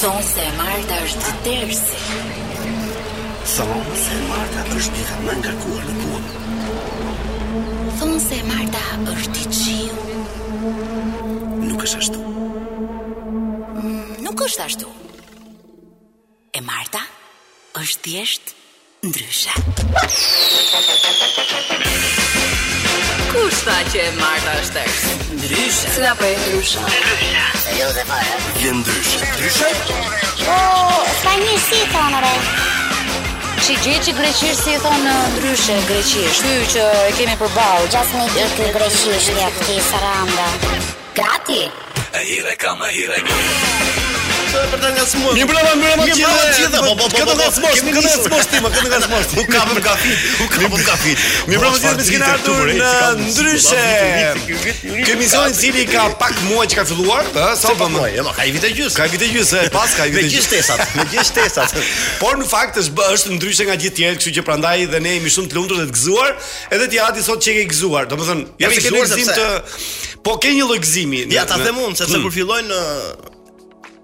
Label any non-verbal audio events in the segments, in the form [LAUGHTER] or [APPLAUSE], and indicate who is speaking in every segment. Speaker 1: Thonë se e Marta është dersi.
Speaker 2: Thonë se Marta është dita më ngarkuar në punë.
Speaker 1: Thonë se e Marta është i qiu.
Speaker 2: Nuk është ashtu.
Speaker 1: Nuk është ashtu. E Marta është thjesht ndryshe. Kush tha që e Marta është ders? Ndryshe. Si apo e ndryshe?
Speaker 2: Je ndryshe. Ndryshe?
Speaker 3: Po, spanjisht si i thonë re?
Speaker 4: Çi gjë që greqisht si i thonë ndryshe greqisht. Ky që e kemi përballë.
Speaker 3: Gjasmi i ky greqishtja këti saranda.
Speaker 1: Gati.
Speaker 2: E hire kam, e hire po
Speaker 5: për ta ngasmuar.
Speaker 6: Mi brava mbyra ma
Speaker 5: Mi
Speaker 6: gjitha.
Speaker 5: brava gjitha, po, po, po,
Speaker 6: Këtë
Speaker 5: po,
Speaker 6: nga
Speaker 5: po,
Speaker 6: smosh,
Speaker 5: kemi
Speaker 6: këtë nga
Speaker 5: nisur.
Speaker 6: smosh ti, më këtë nga smosh ti.
Speaker 5: U kapëm kafi, u kapëm kafi.
Speaker 6: Mi brava
Speaker 5: Ua,
Speaker 6: gjitha me s'kena
Speaker 5: çfarë
Speaker 6: ardhur
Speaker 5: ditë,
Speaker 6: në
Speaker 5: çfarë ditë,
Speaker 6: ndryshe. Ky emision i cili ka pak muaj që ka filluar, ë, sa
Speaker 5: Po
Speaker 6: u
Speaker 5: po
Speaker 6: bëm?
Speaker 5: po, jo, ma, ka i vite gjys.
Speaker 6: Ka vite gjysë, e pas ka vite
Speaker 5: Me gjithë shtesat, me gjithë shtesat.
Speaker 6: [LAUGHS] Por në fakt është bë- është ndryshe nga gjithë tjerët, kështu që prandaj dhe ne jemi shumë të lumtur dhe të gëzuar, edhe ti hati sot çe ke gëzuar. Domethënë, ja
Speaker 5: Jam i
Speaker 6: se ke
Speaker 5: gëzuar
Speaker 6: gëzim
Speaker 5: sepse-
Speaker 6: të po ke një lloj gëzimi.
Speaker 5: Ja
Speaker 6: në-
Speaker 5: ta
Speaker 6: në-
Speaker 5: them unë,
Speaker 6: Hmm.
Speaker 5: sepse kur fillojnë ë,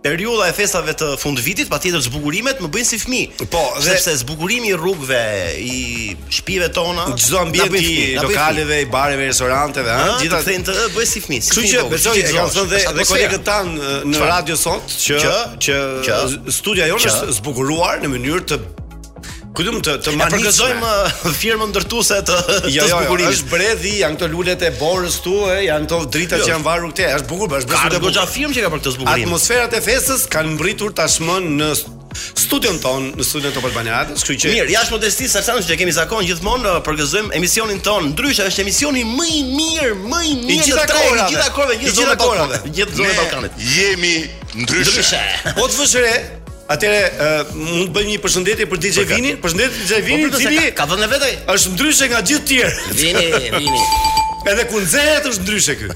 Speaker 5: periudha e festave të fundvitit, patjetër zbukurimet më bëjnë si fëmijë.
Speaker 6: Po, dhe-
Speaker 5: sepse zbukurimi i rrugëve, i shtëpive tona,
Speaker 6: çdo ambient i lokaleve, i bareve, i restoranteve, ha,
Speaker 5: gjithë
Speaker 6: gjithë
Speaker 5: të të ë, bëj si fëmijë. si
Speaker 6: Kështu
Speaker 5: fëmijë i
Speaker 6: që
Speaker 5: vogël,
Speaker 6: besoj
Speaker 5: si
Speaker 6: e
Speaker 5: i
Speaker 6: kanë
Speaker 5: gëzosh,
Speaker 6: thënë dhe,
Speaker 5: është
Speaker 6: dhe
Speaker 5: atmosfera.
Speaker 6: kolegët tan në
Speaker 5: Çfarë?
Speaker 6: radio sot që
Speaker 5: Që?
Speaker 6: që,
Speaker 5: Që?
Speaker 6: studia jonë
Speaker 5: Që?
Speaker 6: është zbukuruar në mënyrë të kujtum të të
Speaker 5: Ne
Speaker 6: manitshme.
Speaker 5: përgëzojmë ë, firmën ndërtuese të
Speaker 6: Jo,
Speaker 5: të
Speaker 6: jo, jo,
Speaker 5: zbukurimit.
Speaker 6: është bredhi, janë këto lulet e borës tu, e, janë këto drita
Speaker 5: Jo,
Speaker 6: që janë varur këtej, është bukur, është
Speaker 5: Ka
Speaker 6: besoj
Speaker 5: ardhur
Speaker 6: të bukur.
Speaker 5: goxha firmë që ka për këtë zbukurim.
Speaker 6: Atmosferat e festës kanë mbritur tashmë në studion ton, në studion Top Albaniadës, kështu që
Speaker 5: Mirë, jashtë modestisë Sarsan që kemi zakon gjithmonë ë, përgëzojmë emisionin ton. Ndryshe është emisioni më i mirë, më i mirë
Speaker 6: I gjitha
Speaker 5: në tre,
Speaker 6: korave.
Speaker 5: i gjitha korave,
Speaker 6: I gjitha korave.
Speaker 5: gjithë zonën e Ballkanit.
Speaker 2: Jemi ndryshe.
Speaker 5: Ndryshe.
Speaker 6: [LAUGHS] Po të vëshre, atëre ë, mund të bëjmë një përshëndetje për DJ Vinin, përshëndetje DJ
Speaker 5: Po
Speaker 6: Vinin, i
Speaker 5: pritet se
Speaker 6: cili
Speaker 5: ka- ka vënë vetë.
Speaker 6: është ndryshe nga gjithë
Speaker 5: [LAUGHS]
Speaker 6: tjerë.
Speaker 5: Vini, vini.
Speaker 6: Edhe ku nxehet është ndryshe ky.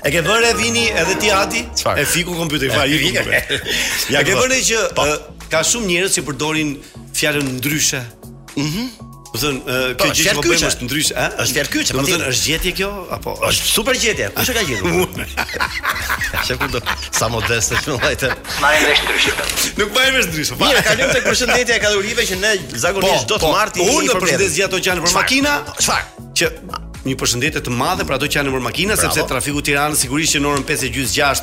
Speaker 6: E ke vënë vini edhe ti Ati?
Speaker 5: Çfarë?
Speaker 6: E fiku kompjuter, fare i
Speaker 5: [LAUGHS]
Speaker 6: kompjuter. Ja ke vënë që
Speaker 5: Po.
Speaker 6: ë, ka shumë njerëz që përdorin fjalën ndryshe. Mhm. Do të thënë, ë, kjo
Speaker 5: Po,
Speaker 6: gjë që po
Speaker 5: fjalë
Speaker 6: bëjmë
Speaker 5: kyçe.
Speaker 6: është ndryshe, ë?
Speaker 5: Është fjalë kyçe, po
Speaker 6: Do të
Speaker 5: patjetër.
Speaker 6: thënë është gjetje kjo apo
Speaker 5: Është super gjetje. Kush e ka [LAUGHS] gjetur? Shef ku do. Sa modeste [LAUGHS] që vllajtë.
Speaker 6: nuk
Speaker 5: po
Speaker 6: bëjmë është ndryshe. pa.
Speaker 5: Mirë, kalojmë tek përshëndetja e kalorive që ne zakonisht Po, do të marti
Speaker 6: unë do përshëndes gjithë ato që janë për
Speaker 5: Çfarë?
Speaker 6: makina,
Speaker 5: Çfarë?
Speaker 6: që një përshëndetje të madhe për ato që janë për makina, sepse trafiku i Tiranës sigurisht që në orën 5:30-6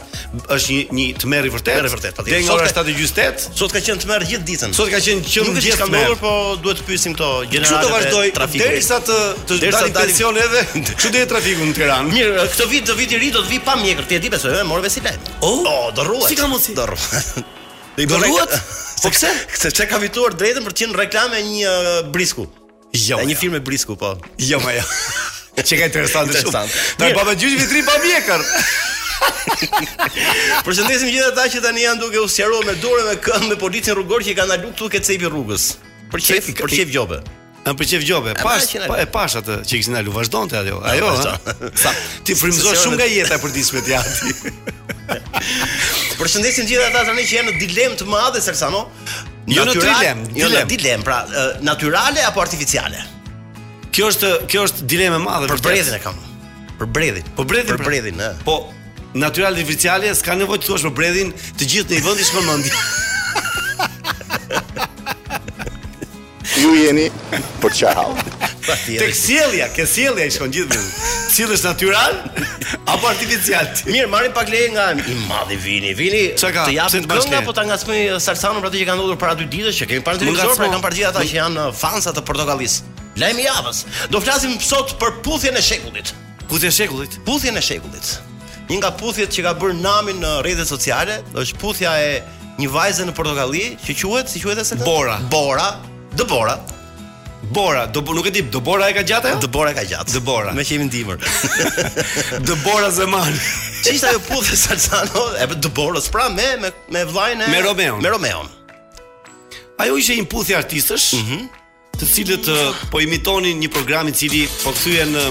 Speaker 6: është një një tmerr i vërtet.
Speaker 5: Tmerr i vërtet, patjetër.
Speaker 6: Deri nga
Speaker 5: Sot
Speaker 6: ora
Speaker 5: ka-
Speaker 6: 7:48
Speaker 5: Sot ka qenë tmerr gjithë ditën.
Speaker 6: Sot ka qenë qëndër
Speaker 5: Nuk e di
Speaker 6: gjithë
Speaker 5: çka
Speaker 6: tmerr.
Speaker 5: ndodhur, po duhet të pyesim këto
Speaker 6: Kështu
Speaker 5: gjenerale.
Speaker 6: të vazhdoj
Speaker 5: trafiku.
Speaker 6: derisa të të
Speaker 5: Derisa
Speaker 6: dalim
Speaker 5: dalim-
Speaker 6: pension edhe kështu deri trafiku në Tiranë.
Speaker 5: Mirë, këtë vit, të vit i ri do të vi pa mjekër, ti e di besoj, e morëve si lajm.
Speaker 6: Oh?
Speaker 5: oh, do rruhet.
Speaker 6: Si ka
Speaker 5: [LAUGHS]
Speaker 6: mundsi?
Speaker 5: Do rruhet.
Speaker 6: Do rruhet?
Speaker 5: Po pse? [LAUGHS] Sepse ka fituar drejtën për të qenë reklamë e një uh, brisku.
Speaker 6: Jo.
Speaker 5: E një
Speaker 6: jo.
Speaker 5: firme brisku, po. [LAUGHS]
Speaker 6: Jo, [LAUGHS] ma jo. Çe [LAUGHS] ka interesante shumë.
Speaker 5: Interesante.
Speaker 6: Na
Speaker 5: Mirë.
Speaker 6: baba gjysh vitrin pa mjekër.
Speaker 5: Përshëndesim gjithë ata që tani janë duke u sqaruar me dorë me këmbë me policin rrugor që i kanë dalë këtu ke cepi rrugës. Për çef, për çef gjobe.
Speaker 6: Në pëlqej gjobe. Pash,
Speaker 5: që na-
Speaker 6: pa, e pash atë që kishin alu, vazhdonte ajo. Ajo.
Speaker 5: vazhdo.
Speaker 6: ha? Sa ti frymëzon
Speaker 5: Se se
Speaker 6: shumë
Speaker 5: orë-
Speaker 6: nga jeta e përditshme ti [LAUGHS] aty.
Speaker 5: Përshëndesim gjithë ata tani që janë në dilemë të madhe Sersano.
Speaker 6: Jo në
Speaker 5: Natyral-
Speaker 6: dilem,
Speaker 5: jo në
Speaker 6: dilem.
Speaker 5: dilem, pra ë, natyrale apo artificiale?
Speaker 6: Kjo është kjo është dilemë e madhe
Speaker 5: Për
Speaker 6: vërtet.
Speaker 5: bredhin e kam. Për bredhin.
Speaker 6: Po bredhin.
Speaker 5: Për
Speaker 6: pra.
Speaker 5: bredhin, ë.
Speaker 6: Po natyral dhe oficiale s'ka nevojë të thuash për bredhin, të gjithë në një vend i shkon [LAUGHS] mendja.
Speaker 7: Ju jeni për çahall.
Speaker 6: Tek sjellja, ke sjellja i shkon gjithë mendja. Sjellësh [LAUGHS] natyral apo artificial? ti?
Speaker 5: Mirë, marrim pak leje nga i madhi Vini. Vini,
Speaker 6: Çka ka?
Speaker 5: të
Speaker 6: Pse
Speaker 5: japim
Speaker 6: të bash
Speaker 5: këngë
Speaker 6: leje?
Speaker 5: apo ta ngacmoj eh, Salsanën për atë që ka ndodhur para dy ditësh që kemi parë në
Speaker 6: Më
Speaker 5: televizor,
Speaker 6: ngacmo.
Speaker 5: pra kanë parë gjithë ata që janë eh, fansa të portokallis. Lajmi i javës. Do flasim sot për puthjen e shekullit.
Speaker 6: Ku të shekullit?
Speaker 5: Puthjen e shekullit. Një nga puthjet që ka bërë namin në rrjetet sociale është puthja e një vajze në portokalli që quhet, si quhet asaj?
Speaker 6: Bora.
Speaker 5: Bora. Dëbora.
Speaker 6: Bora, do nuk e di, do Bora e ka gjatë ajo?
Speaker 5: Dëbora ka gjatë.
Speaker 6: Dëbora.
Speaker 5: Me që jemi ndihmër.
Speaker 6: [LAUGHS] Do Bora Zeman.
Speaker 5: Që ishte ajo puthje Salsano e Dëborës, pra me me me vllajën e
Speaker 6: Me Romeon.
Speaker 5: Me Romeon.
Speaker 6: Ajo ishte një puthje artistësh, të cilët ë, po imitonin një program i cili po kthyen ë,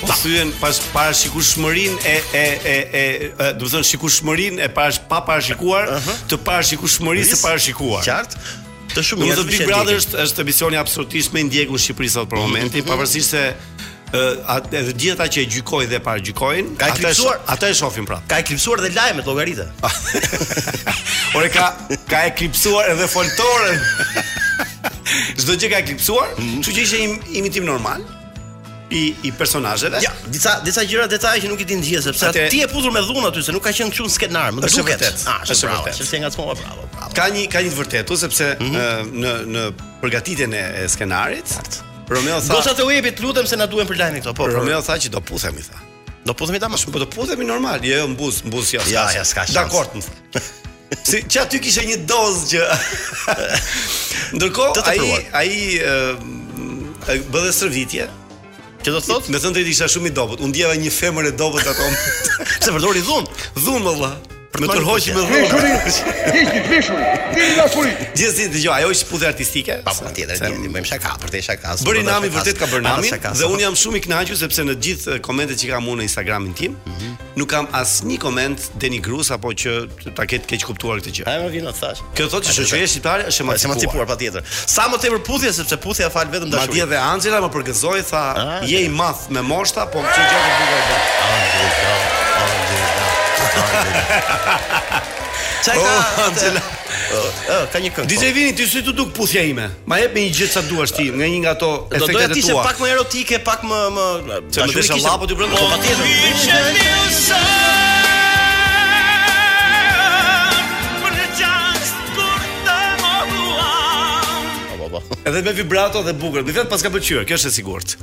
Speaker 6: po kthyen pas parashikueshmërinë e e e e, e do të thënë shikueshmërinë e parash pa parashikuar të parashikueshmërisë së parashikuar.
Speaker 5: Qartë? Të
Speaker 6: Do
Speaker 5: shumë
Speaker 6: të
Speaker 5: njerëz
Speaker 6: thotë Big Brother është është emisioni absolutisht më i ndjekur në Shqipëri sot për momentin, pavarësisht se ë, at- edhe gjithë ata që e gjykojnë dhe para gjykojnë, ata
Speaker 5: Ka
Speaker 6: e shoh-
Speaker 5: eklipsuar.
Speaker 6: ata e shohin prapë.
Speaker 5: Ka eklipsuar dhe lajmet llogaritë.
Speaker 6: Ah. Ore ka ka eklipsuar edhe foltorën. Çdo gjë ka eklipsuar,
Speaker 5: Mhm.
Speaker 6: kështu që ishte im, imitim normal i i personazheve.
Speaker 5: Ja, disa disa gjëra detaje që nuk i din gjë sepse
Speaker 6: Atë-
Speaker 5: ti e puthur me dhunë aty se nuk ka qenë kështu në skenar, më
Speaker 6: Është e
Speaker 5: duket.
Speaker 6: vërtet,
Speaker 5: Ah,
Speaker 6: është e
Speaker 5: Është bravo,
Speaker 6: vërtet.
Speaker 5: sepse nga çmova bravo, bravo.
Speaker 6: Ka një ka një të vërtetë sepse
Speaker 5: Mhm.
Speaker 6: ë, në në përgatitjen e, e skenarit Romeo tha
Speaker 5: Gocat e webit lutem se na duhen për lajmin këto, po. por-
Speaker 6: Romeo tha që do puthemi tha.
Speaker 5: do puthemi ta më
Speaker 6: Po do puthemi normal, jo jo, mbus, mbus ja.
Speaker 5: Ja, ja, s'ka shans.
Speaker 6: Dakor.
Speaker 5: [LAUGHS]
Speaker 6: më tha. Si që aty kishe një dozë që Ndërkohë
Speaker 5: Të
Speaker 6: ai
Speaker 5: tepruar.
Speaker 6: ai ë, bëdhe shërvitje.
Speaker 5: Që do thotë
Speaker 6: Me thënë drejtë isha shumë i dobët. Unë ndjeva një femër e dobët ato.
Speaker 5: se përdori [LAUGHS] dhunë.
Speaker 6: Dhunë valla. Me
Speaker 5: marrë
Speaker 6: tërhoq me [LAUGHS] dhunë. Gjithsesi dëgjoj, ajo ishte puthje artistike.
Speaker 5: Pa po,
Speaker 6: se-
Speaker 5: pa tjetër,
Speaker 6: se-
Speaker 5: ne bëjmë shaka, për të shaka. s'do
Speaker 6: Bëri
Speaker 5: bëjmë
Speaker 6: nami
Speaker 5: shaka,
Speaker 6: vërtet ka bërë
Speaker 5: s'do bëjmë
Speaker 6: nami
Speaker 5: shaka,
Speaker 6: dhe
Speaker 5: s'do
Speaker 6: unë jam shumë i kënaqur sepse në gjithë eh, komentet që kam unë në Instagramin tim,
Speaker 5: Mhm.
Speaker 6: nuk kam asnjë koment denigrus apo që ta ketë keq kuptuar këtë gjë.
Speaker 5: A më vjen thash.
Speaker 6: Kjo thotë që shoqëria shqiptare është
Speaker 5: Është Po, emancipuar
Speaker 6: emancipuar.
Speaker 5: patjetër. Sa më tepër puthje sepse puthja fal vetëm dashuri.
Speaker 6: Madje dhe Angela më përgëzoi tha,
Speaker 5: Ah,
Speaker 6: "Je i madh me moshta, po që gjë të bukur bën."
Speaker 5: Çaj ka
Speaker 6: Oh, Angela.
Speaker 5: Ë, ka një këngë. po.
Speaker 6: DJ Vini, ty si të duk puthja ime? Ma jep me një gjë sa duash ti, nga një nga ato
Speaker 5: Do doja
Speaker 6: efektet e
Speaker 5: të ishte
Speaker 6: tua.
Speaker 5: pak më erotike, pak më më
Speaker 6: Se më desha llapot ju brenda.
Speaker 5: Po patjetër. [LAUGHS] Po, po, po.
Speaker 6: Edhe me vibrato dhe bukur. Mi thënë pas ka pëlqyer, kjo është e sigurt.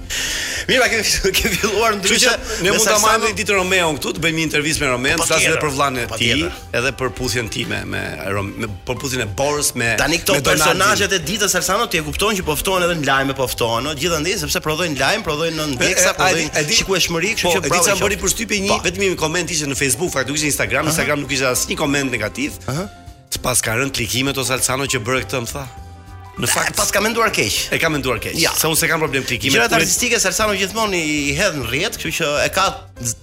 Speaker 5: Mira, ke ke filluar
Speaker 6: Kështu
Speaker 5: ndryshe.
Speaker 6: që ne
Speaker 5: me
Speaker 6: mund ta
Speaker 5: Saksano.
Speaker 6: marrim një ditë Romeon këtu, të bëjmë një intervistë me Romeon,
Speaker 5: Po,
Speaker 6: flasim
Speaker 5: patjetër,
Speaker 6: edhe për vllanë e tij,
Speaker 5: patjetër.
Speaker 6: edhe për puthjen time me Rom- me për puthjen e Boris me
Speaker 5: Tani këto
Speaker 6: me Donaldin.
Speaker 5: personazhet e ditës Alsano ti e kupton që po ftohen edhe në lajme, po ftohen, no? gjithandaj sepse prodhojnë lajm, prodhojnë në
Speaker 6: E,
Speaker 5: ndjeksa,
Speaker 6: e, a e di- e
Speaker 5: prodhojnë
Speaker 6: di-
Speaker 5: shikueshmëri, kështu
Speaker 6: po, e
Speaker 5: që
Speaker 6: di
Speaker 5: bravo.
Speaker 6: sa
Speaker 5: i
Speaker 6: bëri
Speaker 5: qoftë.
Speaker 6: përshtypje një
Speaker 5: Po.
Speaker 6: vetëm një koment ishte në Facebook, faktu ishte Instagram, Instagram nuk ishte asnjë koment negativ. Të pas ka rënë klikimet ose Alsano që bëre këtë më tha. Në
Speaker 5: Fakt
Speaker 6: fakt
Speaker 5: pas ka menduar keq.
Speaker 6: e ka menduar keq.
Speaker 5: Ja.
Speaker 6: Se unë se kam problem klikimet.
Speaker 5: Gjërat
Speaker 6: unë-
Speaker 5: artistike Alsano gjithmonë i hedh në rrjet, kështu që e ka z-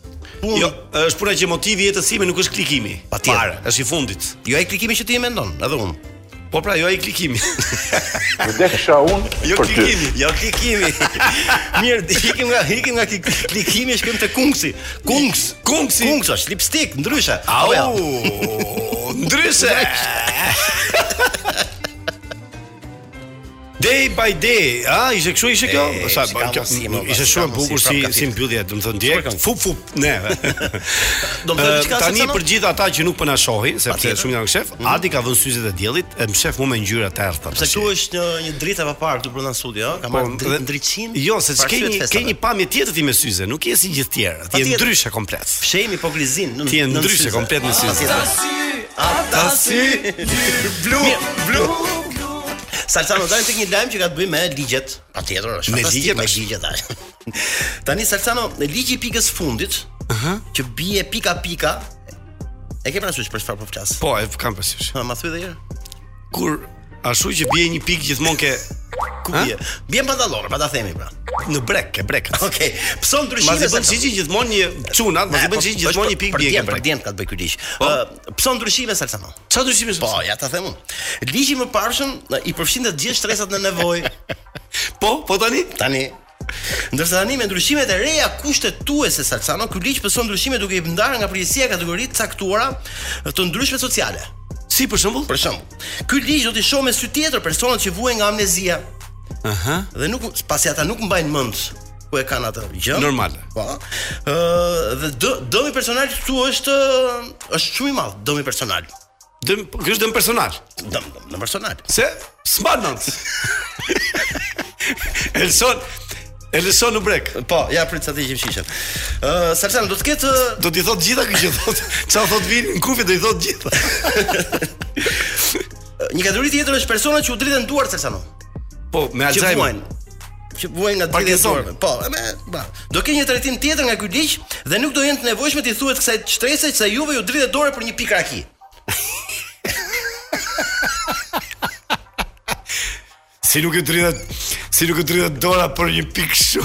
Speaker 5: punë.
Speaker 6: Jo,
Speaker 5: Jo,
Speaker 6: është puna që motivi i jetës sime nuk është klikimi.
Speaker 5: Patjetër.
Speaker 6: Fare, është i fundit.
Speaker 5: ai klikimi që ti Jo, e mendon, edhe unë.
Speaker 6: Po pra, jo ai
Speaker 7: [LAUGHS]
Speaker 6: klikimi.
Speaker 7: Vdekësha unë
Speaker 6: [LAUGHS] Jo
Speaker 7: për ty.
Speaker 6: klikimi.
Speaker 5: Jo [LAUGHS] klikimi. Mirë, ikim nga ikim nga klik- klikimi, shkojmë te kungsi. Kungs,
Speaker 6: Kungsi. oh.
Speaker 5: Kungs është lipstick ndryshe.
Speaker 6: Au.
Speaker 5: Apo jo? [LAUGHS]
Speaker 6: Ndryshe. Day by day, a ishte kështu ishte kjo?
Speaker 5: E,
Speaker 6: Sa
Speaker 5: si
Speaker 6: po,
Speaker 5: ka
Speaker 6: kjo
Speaker 5: mundësi,
Speaker 6: nuk-
Speaker 5: mo,
Speaker 6: ishte
Speaker 5: si
Speaker 6: shumë
Speaker 5: ka
Speaker 6: e bukur
Speaker 5: mundësi,
Speaker 6: si
Speaker 5: prap ka
Speaker 6: si
Speaker 5: fit.
Speaker 6: mbyllje, do të thonë direkt, fup fup,
Speaker 5: [LAUGHS]
Speaker 6: ne.
Speaker 5: Po, Do të thotë diçka
Speaker 6: Ë, Tani
Speaker 5: Saksano?
Speaker 6: për gjithë ata që nuk po na shohin, sepse
Speaker 5: Patjetër. Mhm.
Speaker 6: shumë janë shef, Adi ka vënë syzet e diellit, e më shef mua me ngjyra të errta.
Speaker 5: Sepse
Speaker 6: tash.
Speaker 5: këtu është një, një dritë e paparë këtu brenda studio, ëh, ka
Speaker 6: Po,
Speaker 5: marrë
Speaker 6: dhe-
Speaker 5: dritë ndriçin.
Speaker 6: Jo, se
Speaker 5: para
Speaker 6: ke
Speaker 5: syve
Speaker 6: një
Speaker 5: të
Speaker 6: ke
Speaker 5: festave.
Speaker 6: një pamje tjetër ti me syze, nuk je si gjithë tjerë. Ti je
Speaker 5: Patjetër.
Speaker 6: ndryshe komplet.
Speaker 5: Fshehim hipokrizin po në
Speaker 6: Ti je
Speaker 5: në Ah,
Speaker 6: ndryshe
Speaker 5: syze.
Speaker 6: komplet në syze.
Speaker 5: Ata si
Speaker 6: blu, blu.
Speaker 5: Salsano tani tek një lajm që ka të bëjë me ligjet. Patjetër është
Speaker 6: Me
Speaker 5: fantastik,
Speaker 6: ligjet
Speaker 5: me
Speaker 6: është.
Speaker 5: ligjet ai. [LAUGHS] Tani Salsano, ligji i pikës fundit, që bie pika pika. E ke parasysh për çfarë po flas?
Speaker 6: Po, e kam përsërish.
Speaker 5: Ha, Ma thuaj edhe herë.
Speaker 6: Kur ashtu që bie një pikë gjithmonë ke
Speaker 5: Ku
Speaker 6: Ha?
Speaker 5: bie? Bie në pantallone, pa ta themi pra.
Speaker 6: në brek, ke brek.
Speaker 5: Okej, pso ndryshime?
Speaker 6: Masi bën
Speaker 5: Salsano?
Speaker 6: shiçi gjithmonë një çunat, masi
Speaker 5: Eh,
Speaker 6: bën
Speaker 5: po,
Speaker 6: shiçi
Speaker 5: po,
Speaker 6: gjithmonë
Speaker 5: është
Speaker 6: një pikë
Speaker 5: për-
Speaker 6: bie ke
Speaker 5: Për djem, për
Speaker 6: brek.
Speaker 5: djem ka të bëj ky ligj.
Speaker 6: Po.
Speaker 5: Ë, Pso ndryshime Salsano?
Speaker 6: Çfarë ndryshime
Speaker 5: Po, ja ta them unë. Ligji më parshëm ë, i përfshin të gjithë shtresat në nevojë.
Speaker 6: Po, po [LAUGHS] tani
Speaker 5: Tani Ndërsa tani me ndryshimet e reja kushtetuese Salsano, ky ligj pëson ndryshime duke i ndarë nga përgjithësia e kategoritë caktuara të ndryshme sociale.
Speaker 6: si për shembull?
Speaker 5: Për shembull, ky ligj do t'i shohë me sy tjetër personat që vuajnë nga amnezia. Aha. Dhe nuk pasi ata nuk mbajnë mend ku e kanë atë gjë.
Speaker 6: Normale.
Speaker 5: Po. Ë dhe dë- dëmi personal këtu është është shumë i madh, dëmi personal.
Speaker 6: Dëm, po, ky është dëm personal.
Speaker 5: Dëm, dëm, dëm personal.
Speaker 6: Se
Speaker 5: [LAUGHS]
Speaker 6: smanant. Elson Elson në brek.
Speaker 5: Po, ja prit sa të hiqim shishën. Ë Salsano do të ketë
Speaker 6: Do t'i thot gjitha kjo që thot. [LAUGHS] Çfarë thot vini në kufi do i thot gjitha.
Speaker 5: një kategori tjetër është personat që u dritën duart Salsano.
Speaker 6: Po, me
Speaker 5: që
Speaker 6: Alzheimer.
Speaker 5: vuajnë që vuajnë nga dritja e
Speaker 6: Parkinson.
Speaker 5: dorëve. Po, me, ba. Do ke një trajtim tjetër nga ky ligj dhe nuk do jenë të nevojshme ti thuhet kësaj shtrese se juve ju dritet dorë për një pikë raki. [LAUGHS]
Speaker 6: Si nuk e dritet, si nuk e dritet dora për një pikë kështu.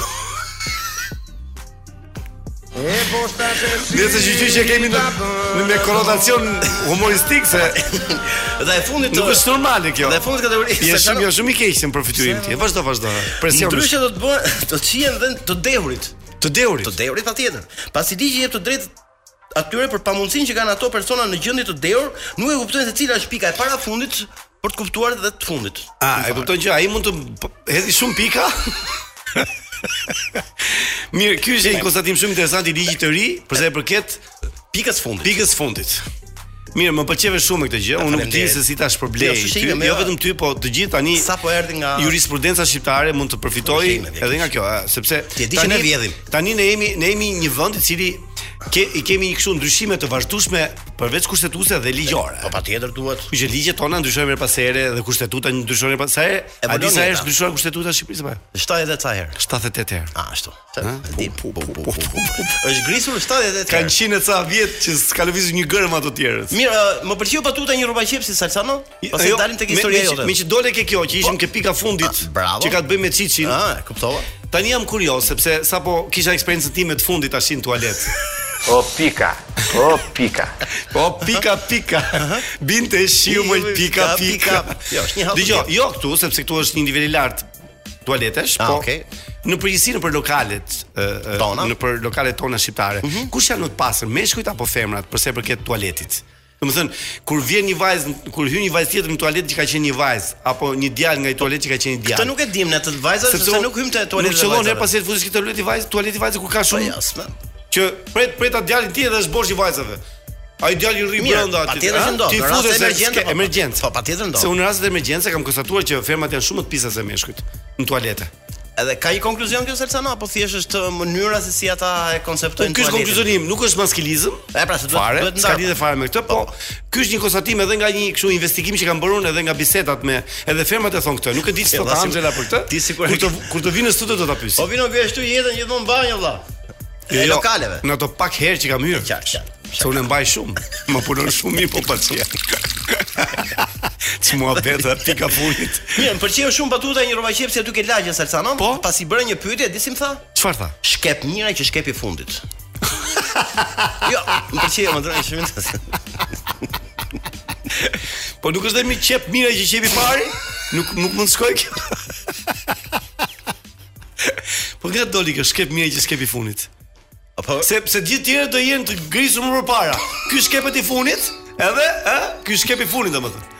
Speaker 6: Nëse që që që kemi në, në me konotacion humoristik se
Speaker 5: Dhe e fundit
Speaker 6: nuk është normale kjo.
Speaker 5: Dhe e fundit kategori
Speaker 6: Je
Speaker 5: Salsano-
Speaker 6: shumë jo shumë i keq se në përfituim ti. Vazhdo, vazhdo. Presion.
Speaker 5: [LAUGHS] Ndryshe do të bëhen do të shihen dhe të dehurit.
Speaker 6: Të deurit.
Speaker 5: Të deurit patjetër. Pasi ligji jep të drejtë atyre për pamundësinë që kanë ato persona në gjendje të dehur, nuk e kuptojnë se cila është pika e parafundit për të kuptuar edhe të fundit.
Speaker 6: A, e kupton që ai mund të p- hedhi shumë
Speaker 5: [LAUGHS]
Speaker 6: pika? Mirë, ky është një konstatim shumë interesant i ligjit të ri, përsa i përket
Speaker 5: Pikës fundit.
Speaker 6: pikës fundit. Mirë, më pëlqeve shumë me këtë gjë. Unë nuk di
Speaker 5: faleminderit.
Speaker 6: se si ta shpërblej.
Speaker 5: Jo,
Speaker 6: ty,
Speaker 5: shëshime, me
Speaker 6: jo
Speaker 5: jo.
Speaker 6: vetëm ty, po të gjithë tani
Speaker 5: Sa po erdhi nga
Speaker 6: jurisprudenca shqiptare mund të përfitojë
Speaker 5: Shëshime, vjekish.
Speaker 6: edhe nga kjo, a, sepse
Speaker 5: Ti e di që ne vjedhim.
Speaker 6: Tani ne jemi ne jemi një vend i cili ke i kemi një kështu ndryshime të vazhdueshme përveç kushtetuese dhe ligjore.
Speaker 5: Po patjetër duhet.
Speaker 6: Kështu që ligjet tona ndryshojnë her pas here dhe kushtetuta ndryshojnë her pas here.
Speaker 5: E
Speaker 6: A di
Speaker 5: volon
Speaker 6: sa herë
Speaker 5: jeta.
Speaker 6: është ndryshuar kushtetuta e Shqipërisë apo?
Speaker 5: 70 ca herë.
Speaker 6: 78 herë.
Speaker 5: A, ashtu. Se, e di. Është grisur 70
Speaker 6: Kanë 100
Speaker 5: herë.
Speaker 6: e ca vjet që s'ka lëvizur një gërm ato tjerës.
Speaker 5: Mirë, ë, më pëlqeu patuta një rroba qepsi Salsano, pastaj
Speaker 6: Jo,
Speaker 5: dalim tek
Speaker 6: me-
Speaker 5: historia
Speaker 6: me që-
Speaker 5: jote. Po,
Speaker 6: Me që dole ke kjo që ishim ke pika fundit,
Speaker 5: A, bravo.
Speaker 6: që ka të bëjë me Çiçin.
Speaker 5: Ah, e kuptova.
Speaker 6: Tani jam kurioz sepse sapo kisha eksperiencën time të fundit tash në tualet.
Speaker 7: [LAUGHS] O pika, o pika.
Speaker 6: Po pika pika. Binte shiu më pika pika.
Speaker 5: Jo, është një hap.
Speaker 6: Dgjoj, jo këtu sepse këtu është një nivel i lartë tualetesh,
Speaker 5: Ah,
Speaker 6: po.
Speaker 5: okay.
Speaker 6: Në përgjithësi në për lokalet, ë, ë,
Speaker 5: Tona? Mhm.
Speaker 6: në për lokalet tona shqiptare. Kush janë më të pastër, meshkujt apo femrat, përse përket tualetit? Domethënë, kur vjen një vajzë, kur hyn një vajzë tjetër në tualet që ka qenë një vajzë apo një djalë nga një tualet që ka qenë një djalë.
Speaker 5: Këtë nuk e dim ne të vajzat, sepse nuk hym te tualeti.
Speaker 6: Nuk qëllon her pas herë futesh këtë tualet i vajzë, tualet i vajzë ku ka shumë
Speaker 5: Po, jasme.
Speaker 6: që pret preta djalin tjetër dhe është bosh i vajzave. Ai djali i rri
Speaker 5: Mirë,
Speaker 6: brenda aty.
Speaker 5: patjetër që
Speaker 6: ha?
Speaker 5: ndodh,
Speaker 6: Ti
Speaker 5: në raste
Speaker 6: futesh
Speaker 5: emergjente,
Speaker 6: emergjente,
Speaker 5: po,
Speaker 6: emergjente.
Speaker 5: po, patjetër ndodh.
Speaker 6: Se unë në rastet emergjence kam konstatuar që femrat janë shumë më të pisa se meshkujt në Po, tualete.
Speaker 5: Po, Edhe ka një konkluzion kjo Salsano apo thjesht është mënyra se si ata e
Speaker 6: Po
Speaker 5: konceptojnë
Speaker 6: ky është
Speaker 5: tualetin?
Speaker 6: konkluzioni im, nuk është maskilizëm.
Speaker 5: E, pra, se duhet-
Speaker 6: fare,
Speaker 5: duhet ndarë.
Speaker 6: s'ka lidhje fare me këtë, po ky është një konstatim edhe nga një kështu investigim që kam bërë unë edhe nga bisedat me edhe femrat e thon këtë. Nuk e di
Speaker 5: Jo,
Speaker 6: çfarë
Speaker 5: dha, si-
Speaker 6: Angela për këtë.
Speaker 5: ti sikur-
Speaker 6: kur të kur të vinë në studio do ta pyes.
Speaker 5: Po vino ky ashtu jetën gjithmonë banjë vëlla.
Speaker 6: Jo,
Speaker 5: E lokaleve.
Speaker 6: Në ato pak herë që kam hyrë.
Speaker 5: Qartë, qartë,
Speaker 6: Se unë e mbaj shumë. Më punon shumë mirë po paçia. Ti mua beta pika funit.
Speaker 5: Mirë, më pëlqeu shumë batuta e një rrova qepsi aty ke lagje Salsano,
Speaker 6: Po?
Speaker 5: pasi bëra një pyetje, di si më tha?
Speaker 6: Çfarë tha?
Speaker 5: Shkep mira që shkepi fundit. jo, më pëlqeu më drejtë shumë interesant.
Speaker 6: Po nuk është dhe mi qep mira që qepi pari? Nuk nuk mund shkoj kjo. po nga doli kjo shkep mira që shkepi funit.
Speaker 5: Apo
Speaker 6: Se se gjithë tjerët do jenë të grisur më përpara. Ky shkepet i funit, edhe ë, ky shkep i funit domethënë.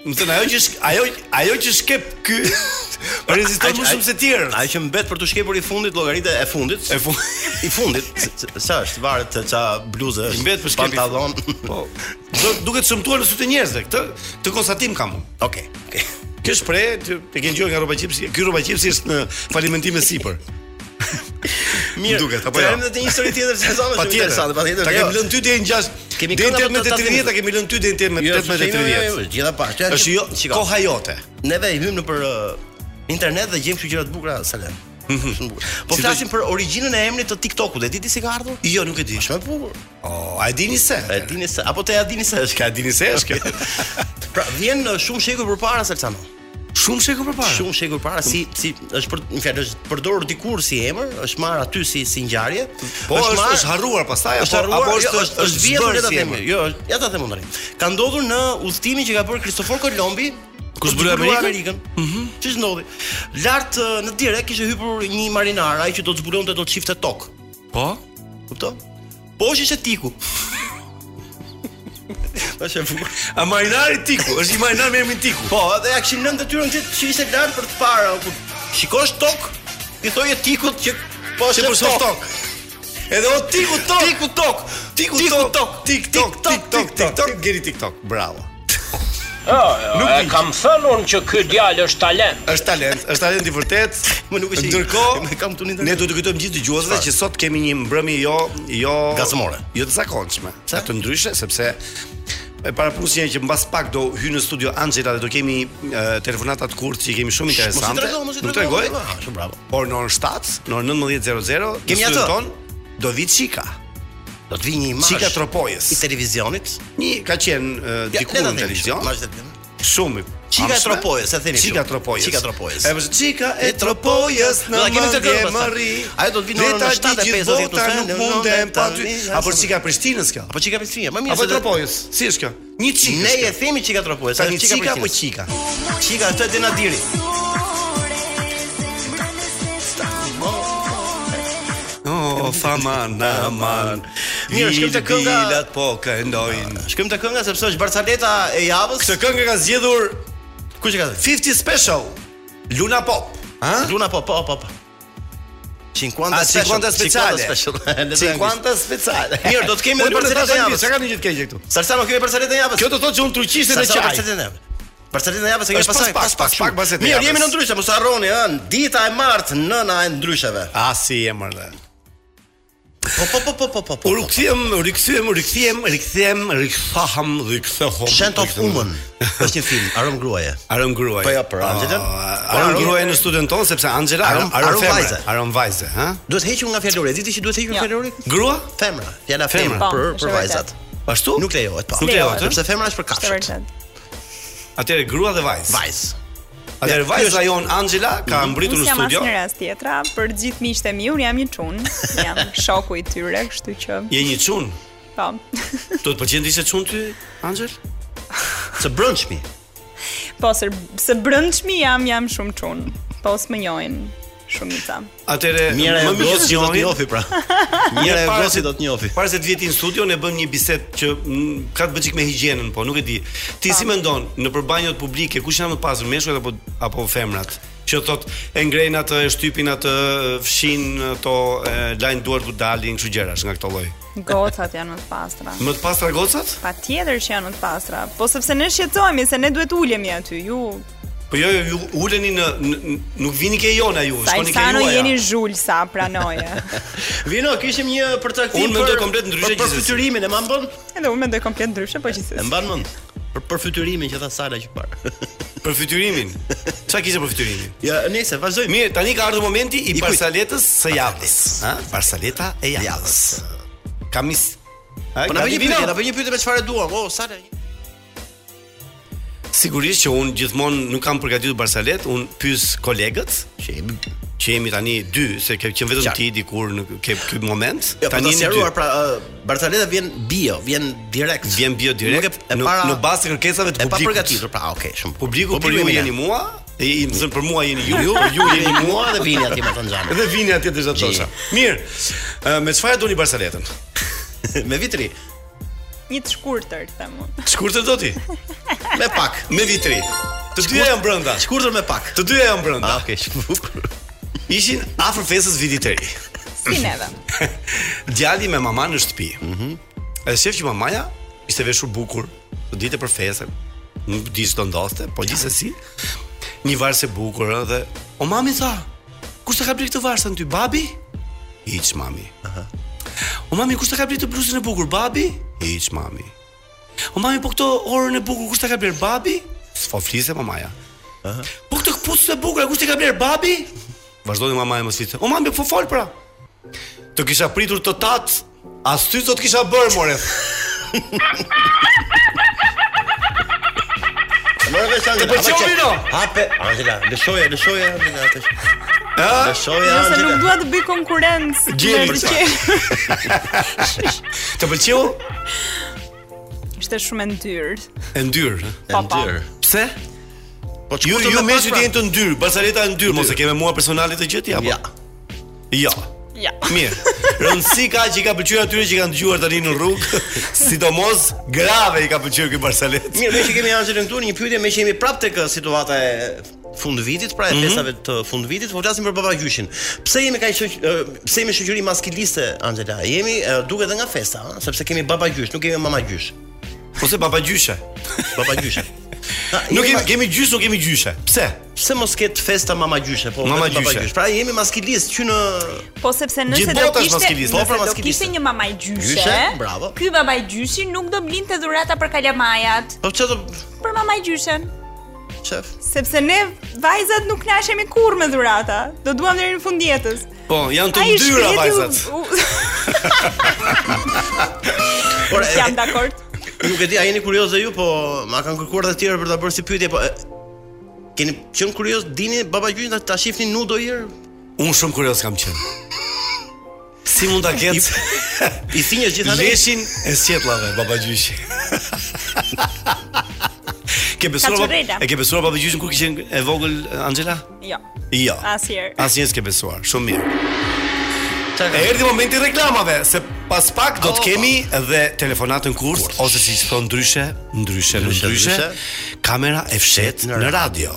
Speaker 6: Më thënë, ajo që shk, ajo ajo që shkep [LAUGHS] ky reziston më shumë se tjerët.
Speaker 5: Ajo që mbet për të shkepur i fundit llogaritë e fundit.
Speaker 6: E fun. [LAUGHS]
Speaker 5: i fundit, se- se- sa është, varet se ça bluzë është.
Speaker 6: I mbet për shkepi.
Speaker 5: pantallon.
Speaker 6: Po. Do duket shëmtuar në sytë e njerëzve këtë, të konstatim kam unë.
Speaker 5: [LAUGHS] Okej. Okej.
Speaker 6: Kjo shprehje që e kanë dëgjuar nga Roba Qipsi, ky Roba Qipsi është në falimentime sipër.
Speaker 5: Po, Mirë.
Speaker 6: Duket, apo
Speaker 5: të
Speaker 6: jo?
Speaker 5: erdhëm edhe një histori tjetër se zonë shumë
Speaker 6: Patjetër.
Speaker 5: interesante, patjetër.
Speaker 6: Ta
Speaker 5: jo.
Speaker 6: kemi lënë ty deri në 6.
Speaker 5: Kemi
Speaker 6: deri
Speaker 5: kënda
Speaker 6: në
Speaker 5: për
Speaker 6: 18 ta kemi lënë ty deri në
Speaker 5: Jo,
Speaker 6: 18
Speaker 5: jo, jo, jo,
Speaker 6: 30.
Speaker 5: jo, Gjitha pa. Që-
Speaker 6: Është jo
Speaker 5: Shiko,
Speaker 6: koha jote.
Speaker 5: Neve i hym në për uh, internet dhe gjejmë kështu gjëra të bukura Salem. Shumë bukur.
Speaker 6: Mhm. Si
Speaker 5: Po
Speaker 6: do-
Speaker 5: flasim për origjinën e emrit të TikTokut. E di ti si ka ardhur?
Speaker 6: Jo, nuk e di.
Speaker 5: Shumë e bukur.
Speaker 6: Oh, a e dini se?
Speaker 5: E dini se apo te ja dini se është.
Speaker 6: Ka e dini se është kjo?
Speaker 5: Pra vjen uh, shumë shekuj përpara Salsano.
Speaker 6: Shumë sheku përpara.
Speaker 5: Shumë shekuj përpara si si është për një fjalë është përdorur dikur si emër, është marr aty si si ngjarje.
Speaker 6: Po është
Speaker 5: marrë-
Speaker 6: është harruar pastaj apo
Speaker 5: është harruar,
Speaker 6: apo
Speaker 5: jo, është është vjedhur
Speaker 6: zbërë
Speaker 5: le ta
Speaker 6: si
Speaker 5: themi.
Speaker 6: emër?
Speaker 5: Jo, është- ja ta them unë. drejt. Ka ndodhur në udhëtimin që ka bërë Kristofor Kolombi
Speaker 6: Ku
Speaker 5: për
Speaker 6: zbuloi
Speaker 5: të zbuluar
Speaker 6: Amerikën?
Speaker 5: Mhm. Ç'është ndodhi? Lart ë, në dire kishte hyrë një marinar, ai që do të zbulonte do të shifte tokë.
Speaker 6: Po.
Speaker 5: Kupton? Poshtë ishte [LAUGHS] tiku. Tash e bukur.
Speaker 6: A marinari Tiku, është i marinar me emrin Tiku.
Speaker 5: Po, edhe ja kishin lënë detyrën që që ishte lart për të parë, ku shikosh tokë, i thoje tikut që po
Speaker 6: Se
Speaker 5: është
Speaker 6: për soft tok. Edhe o tiku tok.
Speaker 5: Tiku tok.
Speaker 6: Tiku
Speaker 5: Tiku
Speaker 6: tok.
Speaker 5: tok.
Speaker 6: Tik tok.
Speaker 5: Tik tok,
Speaker 6: Tik tok.
Speaker 5: tik
Speaker 6: Tik
Speaker 5: tok.
Speaker 6: tok. Gjeri tik tok. Bravo.
Speaker 8: Jo, e kam thënë unë që ky djalë është talent.
Speaker 6: Është talent, është talent i vërtet.
Speaker 5: Më nuk është i-
Speaker 6: Ndërkohë,
Speaker 5: e kam këtu në internet.
Speaker 6: ne duhet të kujtojmë gjithë dëgjuesve që sot kemi një mbrëmje jo jo
Speaker 5: Gacmore.
Speaker 6: Jo të zakonshme. Sa të ndryshe sepse e para punësia që mbas pak do hy në studio Angela dhe do kemi e, telefonata të kurtë që i kemi shumë
Speaker 5: Mos i
Speaker 6: interesante.
Speaker 5: tregoj, mos i
Speaker 6: Nuk
Speaker 5: tregoj.
Speaker 6: tregoj.
Speaker 5: Ah, Shumë bravo.
Speaker 6: Por në orën 7, në orën 19:00 në
Speaker 5: Kemi
Speaker 6: studion
Speaker 5: atë.
Speaker 6: ton, do vi Çika.
Speaker 5: Do të vi një imazh.
Speaker 6: Çika Tropojës.
Speaker 5: i televizionit.
Speaker 6: Një ka qenë e,
Speaker 5: Ja, le
Speaker 6: dikur
Speaker 5: ta
Speaker 6: në
Speaker 5: themi,
Speaker 6: televizion.
Speaker 5: imazh televizion.
Speaker 6: Shumë.
Speaker 5: Çika e
Speaker 6: amshme.
Speaker 5: Tropojës, e themi
Speaker 6: Çika
Speaker 5: kështu.
Speaker 6: Tropojës.
Speaker 5: Çika e Tropojës.
Speaker 6: E vështë Çika e Tropojës në
Speaker 5: Do ta kemi të
Speaker 6: mendje
Speaker 5: këngë
Speaker 6: më
Speaker 5: pastaj.
Speaker 6: rri.
Speaker 5: Ajo do të vi në orën
Speaker 6: Leta
Speaker 5: e
Speaker 6: di
Speaker 5: 7:50
Speaker 6: gjithë bota,
Speaker 5: këtu,
Speaker 6: Nuk
Speaker 5: në
Speaker 6: mundem
Speaker 5: nëntën
Speaker 6: pa ty.
Speaker 5: tani,
Speaker 6: Apo
Speaker 5: jashtëm.
Speaker 6: Çika e Prishtinës kjo?
Speaker 5: Po çika Prishtinë, më mirë.
Speaker 6: Apo
Speaker 5: se
Speaker 6: e
Speaker 5: do-
Speaker 6: Tropojës? Si është kjo? Një Çikë.
Speaker 5: Ne
Speaker 6: është
Speaker 5: e
Speaker 6: kjo.
Speaker 5: themi çika po Tropojës,
Speaker 6: tani po
Speaker 5: është
Speaker 6: Çika apo
Speaker 5: Prishtinës.
Speaker 6: Çika?
Speaker 5: Çika është e Denadiri.
Speaker 6: faman, aman.
Speaker 5: Mirë, shkëm te
Speaker 6: Vilit,
Speaker 5: kënga.
Speaker 6: vilat po këndojnë.
Speaker 5: Shkëm te kënga sepse është Barcaleta e javës.
Speaker 6: Këtë këngë ka zgjedhur
Speaker 5: Kush e ka thënë?
Speaker 6: 50 Special, Luna Pop. Ha?
Speaker 5: Luna po, po, po. po. 50
Speaker 6: A,
Speaker 5: special.
Speaker 6: 50 speciale.
Speaker 5: [LAUGHS] 50 special.
Speaker 6: 50 speciale.
Speaker 5: Mirë, do të
Speaker 6: Po
Speaker 5: kemi edhe Barceletën e javës.
Speaker 6: Çka kanë një gjithë keqe këtu?
Speaker 5: Sarsano kemi Barceletën e javës.
Speaker 6: Kjo do të thotë që unë truqishte në
Speaker 5: Sarsano
Speaker 6: çaj.
Speaker 5: Barceletën e javës. Barceletën e javës e kemi
Speaker 6: Është pas
Speaker 5: pasaj.
Speaker 6: pak, pas pak Barceletën e
Speaker 5: Mirë, jemi
Speaker 6: javës.
Speaker 5: në ndryshe, mos harroni ën, dita e martë, nëna e ndrysheve.
Speaker 6: A si e mërë dhe.
Speaker 5: Po po po po po
Speaker 6: U
Speaker 5: po.
Speaker 6: rikthyem, u rikthyem, u rikthyem, rikthyem, rikthahem, rikthohem.
Speaker 5: Shent of
Speaker 6: rikthyem. [LAUGHS]
Speaker 5: Woman është një film, Aron gruaje.
Speaker 6: Arëm gruaj.
Speaker 5: Po jo, për Angelën? Po,
Speaker 6: Arëm
Speaker 5: Arëm-
Speaker 6: gruaj në studion ton sepse Angela
Speaker 5: Arëm-
Speaker 6: Arëm
Speaker 5: Arëm
Speaker 6: femre,
Speaker 5: vajze.
Speaker 6: Arëm vajze, ha?
Speaker 5: Duhet hequr nga fjalori. Diti që duhet hequr nga
Speaker 4: Ja.
Speaker 5: fjalori?
Speaker 6: Grua?
Speaker 5: Femra. Fjala femra
Speaker 6: Jo. Femra.
Speaker 5: për
Speaker 9: Po,
Speaker 5: për
Speaker 9: është
Speaker 5: vajzat.
Speaker 6: Ashtu?
Speaker 5: Nuk lejohet pa.
Speaker 6: Nuk lejohet, ë?
Speaker 5: sepse femra është për
Speaker 9: Është
Speaker 5: kafshët.
Speaker 9: vërtet.
Speaker 6: Atëre grua dhe vajz.
Speaker 5: Vajz.
Speaker 6: Atëre vajza jon Angela
Speaker 5: Mm.
Speaker 6: ka mbritur
Speaker 9: Unë
Speaker 6: në
Speaker 9: jam
Speaker 6: studio.
Speaker 9: asë një rast tjetra, për gjithë miqët e mi, unë jam një çun, jam
Speaker 6: [LAUGHS]
Speaker 9: shoku i tyre, kështu që,
Speaker 6: Je një çun.
Speaker 9: po.
Speaker 6: Do të pëlqen ti se çun ty, Angel?
Speaker 5: Së brëndshmi.
Speaker 9: Po, së, së brëndshmi jam, jam shumë çun, po së më njojnë shumica.
Speaker 6: Atëre
Speaker 5: Mjera e
Speaker 6: mirë
Speaker 5: gosit
Speaker 6: që
Speaker 5: do të
Speaker 6: njohin.
Speaker 5: njofi pra. Mjera e
Speaker 6: para se-
Speaker 5: gosit do të njofi.
Speaker 6: Para se të vjeti në studio ne bëm një bisedë që mm, ka të bëjë çik me higjienën, po nuk e di. Ti si mendon, në përbanjot publike kush janë më të pasur, meshkujt apo apo femrat? Që thot e ngrenë atë, e shtypin atë, fshin ato, e, lajnë duart u dalin, kështu gjërash nga këto lloj.
Speaker 9: Gocat janë më të pastra.
Speaker 6: Më të pastra gocat?
Speaker 9: Pa tjetër që janë më të pastra, po sepse ne shqetësohemi se ne duhet ulemi aty, ju,
Speaker 6: Po jo, jo, ju uleni në, në nuk vini ke jona ju,
Speaker 9: sa
Speaker 6: shkoni ke
Speaker 9: insano
Speaker 6: juaja.
Speaker 9: jeni zhull sa
Speaker 6: [LAUGHS]
Speaker 9: pranoje.
Speaker 5: [LAUGHS] Vino, kishim një përcaktim
Speaker 6: Unë mendoj komplet ndryshe
Speaker 5: për
Speaker 6: gjithsesi.
Speaker 5: përfytyrimin, e mban bën?
Speaker 9: Edhe unë mendoj komplet ndryshe, po
Speaker 5: E
Speaker 9: gjithsesi.
Speaker 5: mban mend. Për përfytyrimin që tha Sala që parë. [LAUGHS]
Speaker 6: Për fytyrimin. Çfarë kishte për fytyrimin?
Speaker 5: Ja, nëse vazhdojmë.
Speaker 6: Mirë, tani ka ardhur momenti i,
Speaker 5: kujt?
Speaker 6: Barsaletës së javës, ha? Barsaleta e javës. Kamis. Ha,
Speaker 5: Po na bëj
Speaker 6: gati
Speaker 5: një
Speaker 6: vino?
Speaker 5: pyetje, na bëj një pyetje me çfarë duam. O, Sala.
Speaker 6: Sigurisht që unë gjithmonë nuk kam përgatitur Barsalet, unë pyes kolegët
Speaker 5: Që jemi
Speaker 6: që jemi tani dy, se ke qenë vetëm
Speaker 5: Qartë.
Speaker 6: ti dikur në ke ky moment.
Speaker 5: Jo, po
Speaker 6: tani
Speaker 5: ta
Speaker 6: jeni
Speaker 5: sqaruar
Speaker 6: dy.
Speaker 5: pra ë, Barcelona vjen bio, vjen direkt.
Speaker 6: vjen bio direkt
Speaker 5: Nuk e, e
Speaker 6: në,
Speaker 5: para
Speaker 6: në bazë të kërkesave të
Speaker 5: e pa
Speaker 6: publikut.
Speaker 5: përgatitur. Pra, okay, shumë.
Speaker 6: Publiku për ju
Speaker 5: jemi ne.
Speaker 6: jeni mua, e i më thënë për mua jeni ju, ju, për ju
Speaker 5: [LAUGHS]
Speaker 6: jeni
Speaker 5: Jemi
Speaker 6: mua
Speaker 5: mua dhe vini atje me thënë xhanë.
Speaker 6: dhe vini atje të zhatosha. Mirë, ë, me çfarë doni [LAUGHS] Barsaletën?
Speaker 5: me vitri,
Speaker 9: Një të shkurtër, them
Speaker 6: [CLEARS THROAT]
Speaker 9: unë.
Speaker 6: Shkurtër do ti?
Speaker 5: me pak.
Speaker 6: Me vitri. Të dyja janë brenda.
Speaker 5: Shkurtër me pak. Ah,
Speaker 6: Të dyja janë brenda.
Speaker 5: okay, shkurtër.
Speaker 6: Ishin afër festës vitit të ri.
Speaker 9: Si neve.
Speaker 6: Djali me mama në shtëpi. Mhm. Edhe shef që mamaja ishte veshur bukur, të ditë për festën. Nuk di ç'do ndodhte, po gjithsesi një varse bukur ëh, dhe o mami tha, "Kush të ka bler këtë varse ty, babi?" Hiç mami. Aha. O mami, kush të ka bler këtë bluzën e bukur, babi? Hiç mami. O mami, po këto orën e bukur kush të ka bler, babi? S'po fliste mamaja. Po këtë këpucë të bukur, kush të ka bler, babi? Vazhdoi mamaja mos fliste. O mami, po fol pra. Të kisha pritur të tat, as ty do të kisha bërë more.
Speaker 5: Morë vesh Angela.
Speaker 6: Të pëlqeu
Speaker 5: hapa qe-
Speaker 6: vino?
Speaker 5: Hape, Angela, lëshoja, lëshoja, Angela. tash. Lëshoja,
Speaker 9: Nëse
Speaker 5: Angela.
Speaker 9: nuk dua të bëj konkurrencë.
Speaker 6: Gjeni,
Speaker 9: me
Speaker 6: për
Speaker 9: të qenë.
Speaker 6: Të pëlqeu?
Speaker 9: [LAUGHS] Ishte shumë e ndyrë.
Speaker 6: E ndyr.
Speaker 5: E
Speaker 9: Pa, pa.
Speaker 5: ndyr.
Speaker 6: Pse?
Speaker 5: Po
Speaker 6: Ju
Speaker 5: shkurtër
Speaker 6: ju
Speaker 5: me
Speaker 6: me
Speaker 5: pak,
Speaker 6: që
Speaker 5: pra.
Speaker 6: jeni të ndyr, Barsaleta e ndyr, mos e
Speaker 5: Ndyr.
Speaker 6: keme mua personale të gjë ti apo?
Speaker 5: Ja.
Speaker 6: Jo.
Speaker 9: Ja.
Speaker 6: Mirë. Rëndësi ka që i ka pëlqyer atyre që kanë dëgjuar tani në [LAUGHS] rrugë, sidomos grave i ka pëlqyer ky Barsalet.
Speaker 5: Mirë, me që kemi Angelën këtu, një pyetje me që jemi prapë tek ë, situata e fund vitit, pra e
Speaker 6: Mhm.
Speaker 5: festave të fund vitit, po flasim për baba gjyshin. Pse jemi kaq shoq, ë, pse jemi shoqëri maskiliste Angela? Jemi ë, duket edhe nga festa, ë, sepse kemi baba gjysh, nuk kemi mama gjysh.
Speaker 6: Ose baba gjyshe.
Speaker 5: Baba
Speaker 6: [LAUGHS]
Speaker 5: gjyshe. Ha,
Speaker 6: Nuk
Speaker 5: jemi
Speaker 6: kemi
Speaker 5: ma-
Speaker 6: kemi gjysë, nuk kemi gjyshe. Pse?
Speaker 5: pse mos ket festa mama gjyshe, po
Speaker 6: Mama
Speaker 5: vetëm baba
Speaker 6: gjyshe.
Speaker 5: gjysh. Pra jemi maskilist që në
Speaker 9: Po sepse
Speaker 6: Gjithë
Speaker 9: nëse do
Speaker 6: bota është
Speaker 9: kishte,
Speaker 6: maskiliste.
Speaker 5: Po, pra,
Speaker 9: nëse do
Speaker 5: maskiliste.
Speaker 9: kishte një mamaj gjyshe,
Speaker 5: Gjyshe, bravo.
Speaker 9: Ky mamaj gjyshi nuk do blinte dhurata për kalamajat,
Speaker 5: po çfarë do
Speaker 9: për mamaj gjyshen,
Speaker 5: shef?
Speaker 9: sepse ne vajzat nuk nashemi kurrë me dhurata. Do duam deri në fund jetës.
Speaker 6: Po, janë të
Speaker 9: Ai
Speaker 6: ndyra
Speaker 9: shkreti u-
Speaker 6: vajzat.
Speaker 9: u- [LAUGHS]
Speaker 6: Pra,
Speaker 5: Por e-
Speaker 9: Jam dakord.
Speaker 5: nuk e di, a jeni kurioz ju, po ma kanë kërkuar të tjerë për ta bërë si pyetje, po e, keni qenë kurioz, dini baba gjyshin ta- ta shihni nudo herë?
Speaker 6: Unë shumë kurioz kam qenë. Si mund ta ketë?
Speaker 5: I thinjë gjithandaj.
Speaker 6: Leshin e sjetllave babagjyshi. ke besuar bab-
Speaker 9: Kaçurela.
Speaker 6: e ke besuar babagjyshin kur kishe e vogël Angela?
Speaker 9: Jo.
Speaker 6: Jo.
Speaker 9: Asnjëherë.
Speaker 6: Asnjëherë s'ke besuar. Shumë mirë.
Speaker 5: Çka ka? Oh.
Speaker 6: Erdhi momenti i reklamave, se pas pak do të kemi edhe telefonatën kurs, ose si thon ndryshe, ndryshe, në
Speaker 5: Ndryshe,
Speaker 6: ndryshe,
Speaker 5: ndryshe.
Speaker 6: kamera e fshet
Speaker 5: Në
Speaker 6: në radio.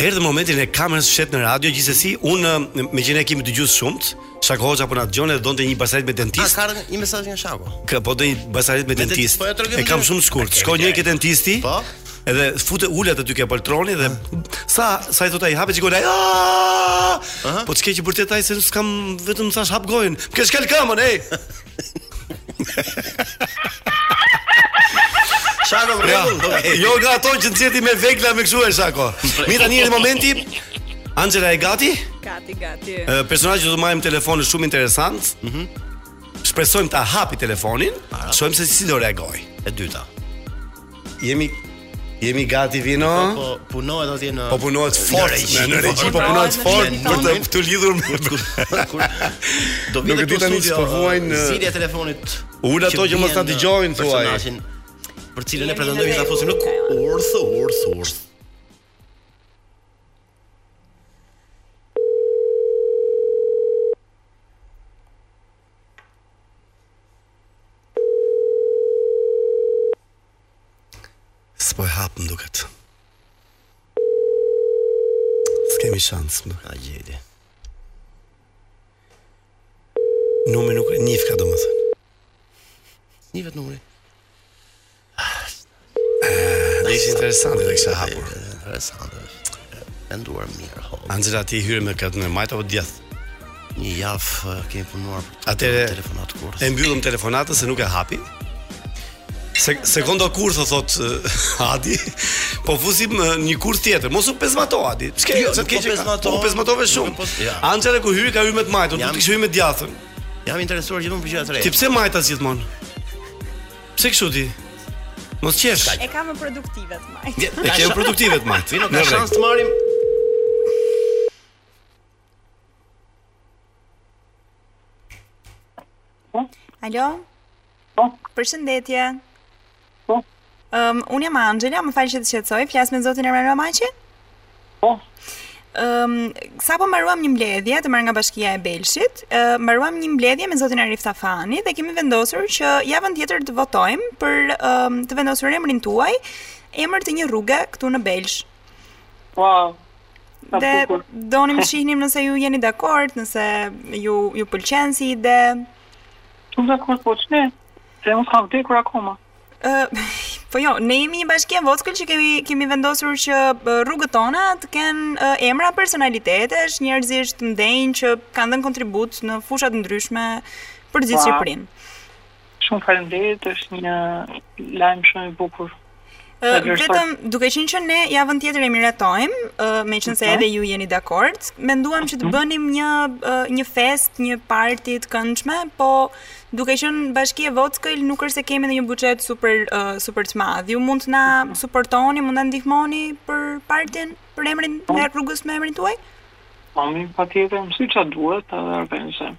Speaker 6: Erdhi momentin e kamerës fshet në radio, gjithsesi unë me që ne kemi dëgjuar shumë, Shako Hoxha po na dëgjon dhe donte një basarit me
Speaker 5: A
Speaker 6: dentist.
Speaker 5: ka ardhur një mesazh nga Shaku.
Speaker 6: Ka po do një basarit me
Speaker 5: dentist,
Speaker 6: dentist.
Speaker 5: po ja tregojmë
Speaker 6: E kam
Speaker 5: ndryshe.
Speaker 6: shumë të shkurt.
Speaker 5: Okej,
Speaker 6: Shko
Speaker 5: okej.
Speaker 6: njëri ke dentisti.
Speaker 5: Po.
Speaker 6: Edhe fute ulat aty ke poltroni dhe sa sa i thot ai hapet çikon ai. "Aaah!" Po ç'ke që vërtet ai se s'kam vetëm thash hap gojen. Ke shkel këmbën, ej.
Speaker 5: Shaku
Speaker 6: [LAUGHS]
Speaker 5: për
Speaker 6: Ja.
Speaker 5: rregull. okay.
Speaker 6: Jo nga ato që nxjeti me vegla me kështu e [LAUGHS] shako. Mi tani është momenti. Angela e gati?
Speaker 9: Gati, gati.
Speaker 6: Ë, Personazhi që do marrim telefonin shumë interesant. Mhm. Shpresojmë ta hapi telefonin, shohim se si do reagoj.
Speaker 5: E dyta.
Speaker 6: Jemi jemi gati vino.
Speaker 5: Po punohet atje në
Speaker 6: Po punohet fort
Speaker 5: regji,
Speaker 6: me- në regji, po
Speaker 9: po
Speaker 6: punohet
Speaker 9: punohet
Speaker 6: fort
Speaker 9: në
Speaker 6: për të
Speaker 9: telefonin.
Speaker 6: të lidhur me
Speaker 5: kur do
Speaker 6: Nuk e
Speaker 5: vitë
Speaker 6: di tani si po vuajnë, ë,
Speaker 5: zilja uh, e telefonit.
Speaker 6: Ul ato që mos ta
Speaker 5: vjen, ë,
Speaker 6: dëgjojnë, thuaj.
Speaker 5: personazhin Për cilën e pretendojnë ta thosin nuk urth, urth, urth.
Speaker 6: S'po e hap më duket. S'kemi shans më.
Speaker 5: A gjeti.
Speaker 6: Numri nuk e njif ka domethënë.
Speaker 5: Një vetë numri.
Speaker 6: Ah, Dhe ishte interesante dhe kisha hapur.
Speaker 5: Interesante. është. E Menduar mirë, ho.
Speaker 6: Angela ti hyre me katën e majtë apo djath?
Speaker 5: Një javë ë, kemi punuar për të
Speaker 6: Atëre-
Speaker 5: telefonat kurth.
Speaker 6: E mbyllëm telefonatën se nuk e hapi. Se sekondo kurth o thot eh, [LAUGHS] Adi, po fusim eh, një kurth tjetër. Mos u pezmato Adi. Ç'ke?
Speaker 5: Jo,
Speaker 6: se
Speaker 5: nuk
Speaker 6: t'ke
Speaker 5: po
Speaker 6: që ka-
Speaker 5: pezmato.
Speaker 6: Po u pezmatove shumë.
Speaker 5: Nuk po- ja.
Speaker 6: Angela ku hyri ka hyrë me të majtën,
Speaker 5: Jam-
Speaker 6: do të kishë hyrë me djathën.
Speaker 5: Jam interesuar gjithmonë për gjëra të
Speaker 6: Ti
Speaker 5: reja.
Speaker 6: pse majtas gjithmonë? Pse kështu ti? Mos qesh.
Speaker 9: E ka më produktive të maj.
Speaker 6: E ke produktive të majt.
Speaker 5: [LAUGHS] Vino ka shans të marrim.
Speaker 9: Alo? Po? Përshëndetje. Po? Um, unë jam Angela, më falë që të qetësoj, flas me zotin Erman Ramaqi? Po. Um, sa po mbaruam një mbledhje të marrë nga bashkia e Belshit, uh, mbaruam një mbledhje me zotin Arif Tafani dhe kemi vendosur që javën tjetër të votojmë për um, të vendosur emrin tuaj, emër të një rruge këtu në Belsh.
Speaker 10: Wow. Sa
Speaker 9: Dhe
Speaker 10: bukur.
Speaker 9: donim [LAUGHS] të shihnim nëse ju jeni dakord, nëse ju ju pëlqen si ide.
Speaker 10: Shumë dhe kërë po që ne, se unë s'kam vdekur akoma.
Speaker 9: Ë, po jo, ne jemi një bashki e vockël që kemi kemi vendosur që ë, rrugët tona të kenë ë, emra personalitetesh, njerëzish të mdenjë që kanë dhënë kontribut në fusha të ndryshme për gjithë
Speaker 10: Wow.
Speaker 9: Shqipërinë.
Speaker 10: Shumë faleminderit, është një lajm shumë i bukur.
Speaker 9: Ë,
Speaker 10: Dhe vlerësoj.
Speaker 9: vetëm duke qenë që ne javën tjetër e miratojmë, ë, me qenë se
Speaker 10: Mhm.
Speaker 9: edhe ju jeni dakord, menduam që të bënim një ë, një fest, një party të këndshme, po duke qenë bashkia Vockël nuk është se kemi ndonjë buxhet super ë, super të madh. Ju mund të na suportoni, mund ta ndihmoni për partin, për emrin e rrugës me emrin tuaj?
Speaker 10: Mami, pa tjetër, mësy që duhet, edhe organizem.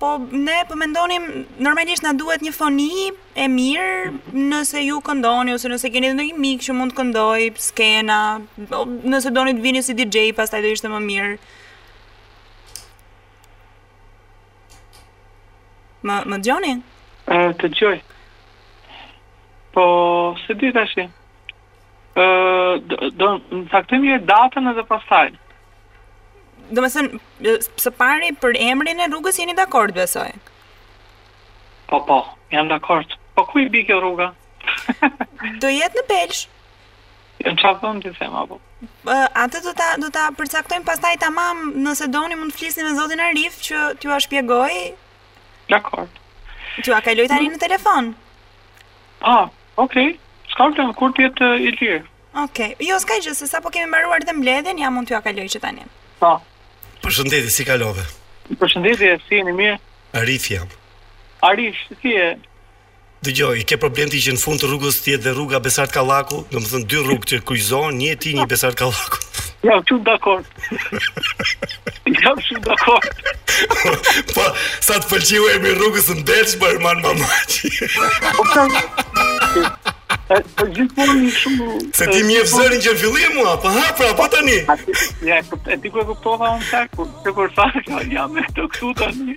Speaker 9: Po ne po mendonim normalisht na duhet një foni e mirë nëse ju këndoni ose nëse keni ndonjë mik që mund të këndoj skena, o, nëse doni të vini si DJ pastaj do ishte më mirë. Më më dëgjoni?
Speaker 10: E, të gjoj. Po, se di tash. Ë, do- do në caktojmë një datën edhe pastaj.
Speaker 9: Do me thënë, e, së pari për emrin e rrugës jeni dakord besoj.
Speaker 10: Po, po, jam dakord. Po ku i bi kjo rruga?
Speaker 9: Do jetë në Belsh.
Speaker 10: Në çfarë vend ti them apo?
Speaker 9: Ë, atë do ta do ta përcaktojmë pastaj tamam, nëse doni mund të flisni me zotin Arif që t'ju a shpjegoj,
Speaker 10: Dakord.
Speaker 9: t'ju a kaloj
Speaker 10: Mm.
Speaker 9: tani në telefon.
Speaker 10: Ah, okay. S'ka problem, kur ti jetë i lirë.
Speaker 9: Okej, jo s'ka gjë, se sapo kemi mbaruar të mbledhjen, ja mund t'ju a kaloj që tani.
Speaker 10: Po.
Speaker 6: Përshëndetje, si kalove?
Speaker 10: Përshëndetje, si jeni mirë?
Speaker 6: Arif jam.
Speaker 10: Arish, si e?
Speaker 6: Dëgjoj, ke problem ti që në fund të rrugës ti jetë dhe rruga Besart Kallaku, domethënë dy rrugë që kryqëzohen, një e ti, një Besart Kallaku.
Speaker 10: Jam shumë
Speaker 9: [LAUGHS]
Speaker 10: dakord. Jam shumë dakord.
Speaker 6: po, sa të
Speaker 2: po
Speaker 6: pëlqeu emri i rrugës në Belç, po Erman Mamaçi.
Speaker 10: Po pse? Po gjithmonë shumë
Speaker 2: Se ti mjef zërin që në fillim mua, po ha pra, po tani.
Speaker 10: Ja, e kupt- e di ku e kuptova unë çak, kur se kur thash, ja, jam e të këtu tani.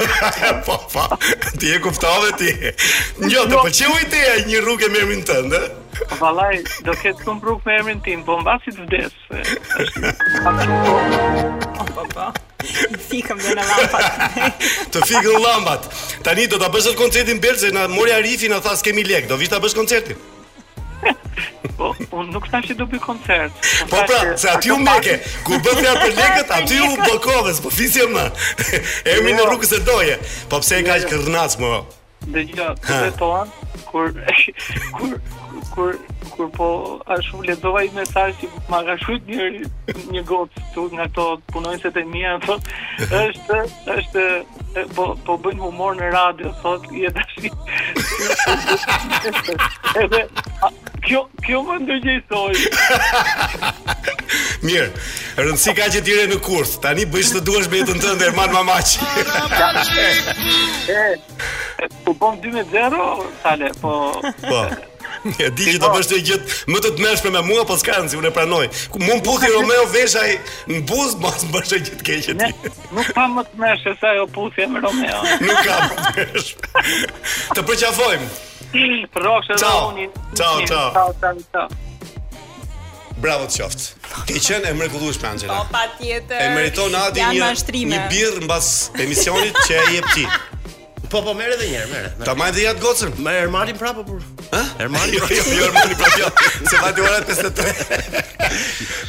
Speaker 2: [LAUGHS] po, po. Ti e kuptove ti. Jo, të pëlqeu ideja një rrugë me emrin tënd, ë?
Speaker 10: Po vallaj, do ketë shumë rrugë me emrin tim, po mbasi të vdes. e, është-
Speaker 9: Po, po. I Fikëm dhe në lampat.
Speaker 2: Të fikën llambat. Tani do ta bësh atë koncertin Berze, na mori Arifi na tha s'kemi lek, do vish ta bësh koncertin.
Speaker 10: Po, unë nuk thash që do bëj koncert.
Speaker 2: Po pra, se aty u meke, kur bën fjalë për lekët, aty u bllokove, po fisje më.
Speaker 11: Jo.
Speaker 2: Emrin e rrugës e doje. Po pse e ka aq kërnac më?
Speaker 10: Dëgjoj,
Speaker 2: Ha.
Speaker 10: këtë toan kur [LAUGHS] kur kur kur po ashtu lexova i mesazh që ma ka shkruajt një një gocë këtu nga ato punonjësit e mia thotë është është e, po po bën humor në radio thotë je tash edhe a, kjo Jo, kjo më ndërgjej soi
Speaker 2: Mirë. Rëndsi ka që tire në kurth. Tani [LAUGHS] bëj të duash me jetën tënde Erman Mamaç.
Speaker 10: e u bën 2-0 sale po
Speaker 2: Po. Ja di që do bësh të gjithë më të tmeshme me mua, po s'ka rëndsi, unë e pranoj. Ku mund puthi Romeo veshaj në buzë, mos më bësh të gjithë keqe
Speaker 10: ne
Speaker 2: ti.
Speaker 10: nuk kam më të mëshë se ajo puthje me Romeo
Speaker 2: [LAUGHS] Nuk kam më të meshme. Të përqafojmë.
Speaker 10: Rosh edhe
Speaker 2: Ciao.
Speaker 10: unë.
Speaker 2: Ciao, ciao.
Speaker 10: Ciao, ciao, ciao.
Speaker 2: Bravo të qoftë. Ke qenë e mrekullueshme Angela.
Speaker 9: Po, pa tjetër.
Speaker 2: E meriton Adi
Speaker 9: Janë
Speaker 2: një
Speaker 9: mashtrime.
Speaker 2: një birr mbas emisionit që e jep ti.
Speaker 5: Po po merr edhe një herë, merr. merr.
Speaker 2: Ta majë dhe jatë gocën.
Speaker 5: Me Ermanin prapë por.
Speaker 2: Hë? [LAUGHS]
Speaker 5: Ermani
Speaker 2: Jo, jo, jo, Ermani pra jo. Se vati ora 53.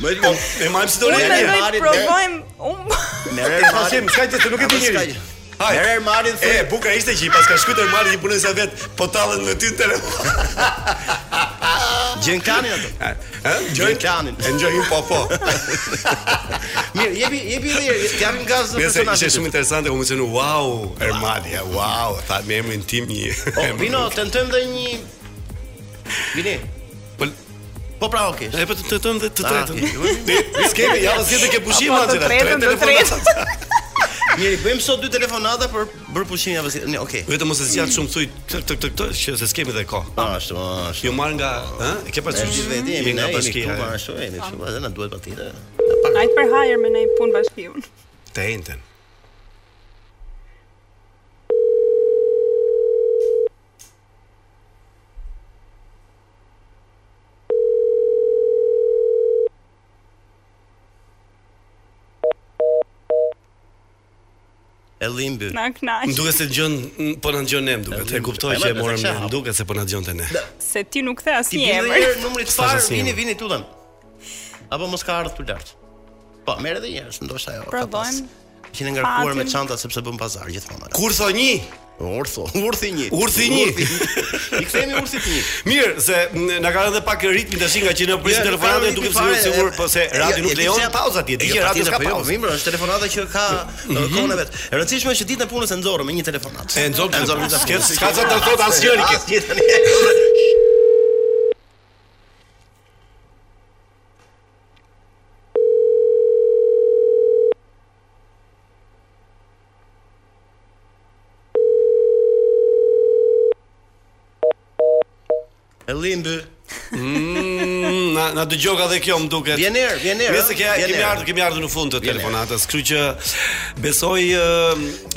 Speaker 5: Më
Speaker 2: Po, e majmë si dorë.
Speaker 9: Unë
Speaker 5: Leni,
Speaker 9: mendoj
Speaker 5: Marit,
Speaker 9: të provojmë. [LAUGHS] Unë
Speaker 2: E
Speaker 5: merr Ermanin.
Speaker 2: pasim, s'ka gjë, se nuk e di
Speaker 5: Apo s'ka
Speaker 2: njëri.
Speaker 5: gjë.
Speaker 2: Hajde.
Speaker 5: Merr Ermanin
Speaker 2: E,
Speaker 5: thë.
Speaker 2: buka ishte që i paska shkujt Ermani një punën sa vet, po tallën në ty në telefon.
Speaker 5: Gjen klanin atë.
Speaker 2: Ë,
Speaker 5: Gjen klanin.
Speaker 2: E ngjoj po po.
Speaker 5: Mirë, jepi jepi edhe herë, të japim gaz në
Speaker 2: Nëse ishte
Speaker 5: personazhin.
Speaker 2: shumë interesante, u mencionu wow, Ermani, ja, wow, tha me emrin tim një.
Speaker 5: O,
Speaker 2: emër.
Speaker 5: vino, tentojmë dhe një Vini.
Speaker 2: Po,
Speaker 5: Po pra, okay.
Speaker 2: e po të tëtëm dhe të
Speaker 5: Ah,
Speaker 2: tretën.
Speaker 5: okay.
Speaker 2: Ne ne s'kemi, ja vazhdim të ke pushim
Speaker 9: Apo të
Speaker 2: Angela,
Speaker 9: tretën, të
Speaker 2: telefonata.
Speaker 5: Mirë, bëjmë sot dy telefonata për për pushimin javës. Ne, okay.
Speaker 6: Vetëm mos e zgjat shumë thuj këtë këtë këtë që se s'kemi dhe kohë.
Speaker 5: Ashtu, ashtu.
Speaker 6: Ju marr nga, ë? E ke
Speaker 5: Ne gjithë
Speaker 6: parasysh
Speaker 5: vetë
Speaker 6: Je
Speaker 5: jemi
Speaker 6: nga
Speaker 5: ne, jemi
Speaker 6: bashkia.
Speaker 5: kluba ashtu, jemi kështu, edhe na duhet patjetër.
Speaker 9: Ajtë për hajër me në i punë bashkiun.
Speaker 6: Të enten.
Speaker 5: E limbi.
Speaker 9: Na
Speaker 6: Më
Speaker 9: knaq
Speaker 6: duket se dëgjon, m, po na dëgjon ne, më duket. E kuptoj
Speaker 5: E,
Speaker 6: që e
Speaker 5: ma,
Speaker 6: morëm
Speaker 5: se
Speaker 6: ne,
Speaker 5: qa,
Speaker 6: më duket se po na dëgjonte ne.
Speaker 9: se ti nuk the
Speaker 5: Ti
Speaker 9: asnjë
Speaker 5: bini dhe
Speaker 9: emër.
Speaker 5: njëherë numrit
Speaker 6: S'ka
Speaker 5: far,
Speaker 6: asnjë
Speaker 5: vini,
Speaker 6: emër.
Speaker 5: vini tutën. Apo mos ka ardhur lart. Po, merr edhe një herë, ndoshta ajo. ka pas.
Speaker 9: Provojmë.
Speaker 5: Qenë ngarkuar me
Speaker 9: Fatin.
Speaker 5: çanta sepse bën pazar gjithmonë.
Speaker 6: Kur thon një,
Speaker 5: Urtho, urthi një.
Speaker 6: Urthi një.
Speaker 5: I kthemi urthit një.
Speaker 6: mirë se m, na ka rënë pak ritmi tash nga që në prisin
Speaker 5: Ja,
Speaker 6: telefonatën duket
Speaker 5: nuk ka
Speaker 6: sigur
Speaker 5: ritmi fare,
Speaker 6: sigur,
Speaker 5: e-
Speaker 6: po se
Speaker 5: e-
Speaker 6: radio
Speaker 5: e-
Speaker 6: nuk
Speaker 5: e-
Speaker 6: lejon
Speaker 5: pse-
Speaker 6: pauza ti, e di
Speaker 5: Jo,
Speaker 6: që radio
Speaker 5: patjetër,
Speaker 6: ka
Speaker 5: po jo,
Speaker 6: pauzë. Mhm.
Speaker 5: vimër, është telefonata që ka uh, kohën e vet. E rëndësishme është që ditën e punës e nxorëm me një telefonat.
Speaker 6: E nxorëm,
Speaker 5: nxorëm nga
Speaker 6: s'ke- s'ka sa të thot asnjëri ke.
Speaker 5: Asnjë tani. E limby.
Speaker 6: Mm, Na na dëgjoka dhe kjo më duket.
Speaker 5: Vjen erë, vjen erë.
Speaker 6: Nëse
Speaker 5: ë?
Speaker 6: ke
Speaker 5: Vjen
Speaker 6: kemi
Speaker 5: erë.
Speaker 6: ardhur, kemi ardhur në fund të
Speaker 5: Vjen erë.
Speaker 6: telefonatës, kështu që besoj ë,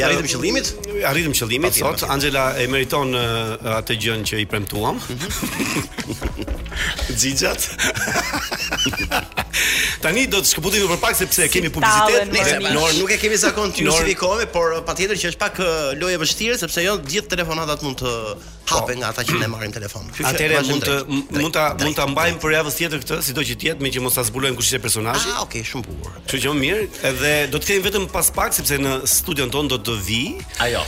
Speaker 5: Ja arritëm
Speaker 6: ë,
Speaker 5: qëllimit? Po,
Speaker 6: Arritëm qëllimin sot.
Speaker 5: Patjetër, patjetër.
Speaker 6: Angela e meriton ë, atë gjën që i premtuam.
Speaker 5: Mhm.
Speaker 6: [LAUGHS] Xixhat.
Speaker 5: [LAUGHS]
Speaker 6: Tani do të shkëputemi për pak sepse kemi publicitet.
Speaker 9: tallen,
Speaker 6: Ne
Speaker 5: Nëse
Speaker 9: Mirë,
Speaker 5: Nor nuk e kemi zakon ty
Speaker 6: Nor-
Speaker 5: justifikohemi, por uh, patjetër që është pak uh, lojë e vështirë sepse jo gjithë telefonatat mund të hapen nga ata që ne marrim telefon. Kështu që
Speaker 6: Atëre
Speaker 5: vazhdim
Speaker 6: mund të
Speaker 5: drejt, drejt,
Speaker 6: mund ta
Speaker 5: drejt.
Speaker 6: mund ta mbajmë për javën tjetër këtë, sido që të jetë, me që mos ta zbulojmë kush ishte personazhi.
Speaker 5: Ah, okay, shumë bukur.
Speaker 6: Kështu që më mirë, edhe do të kemi vetëm pas pak sepse në studion ton do të vi
Speaker 5: Ajo,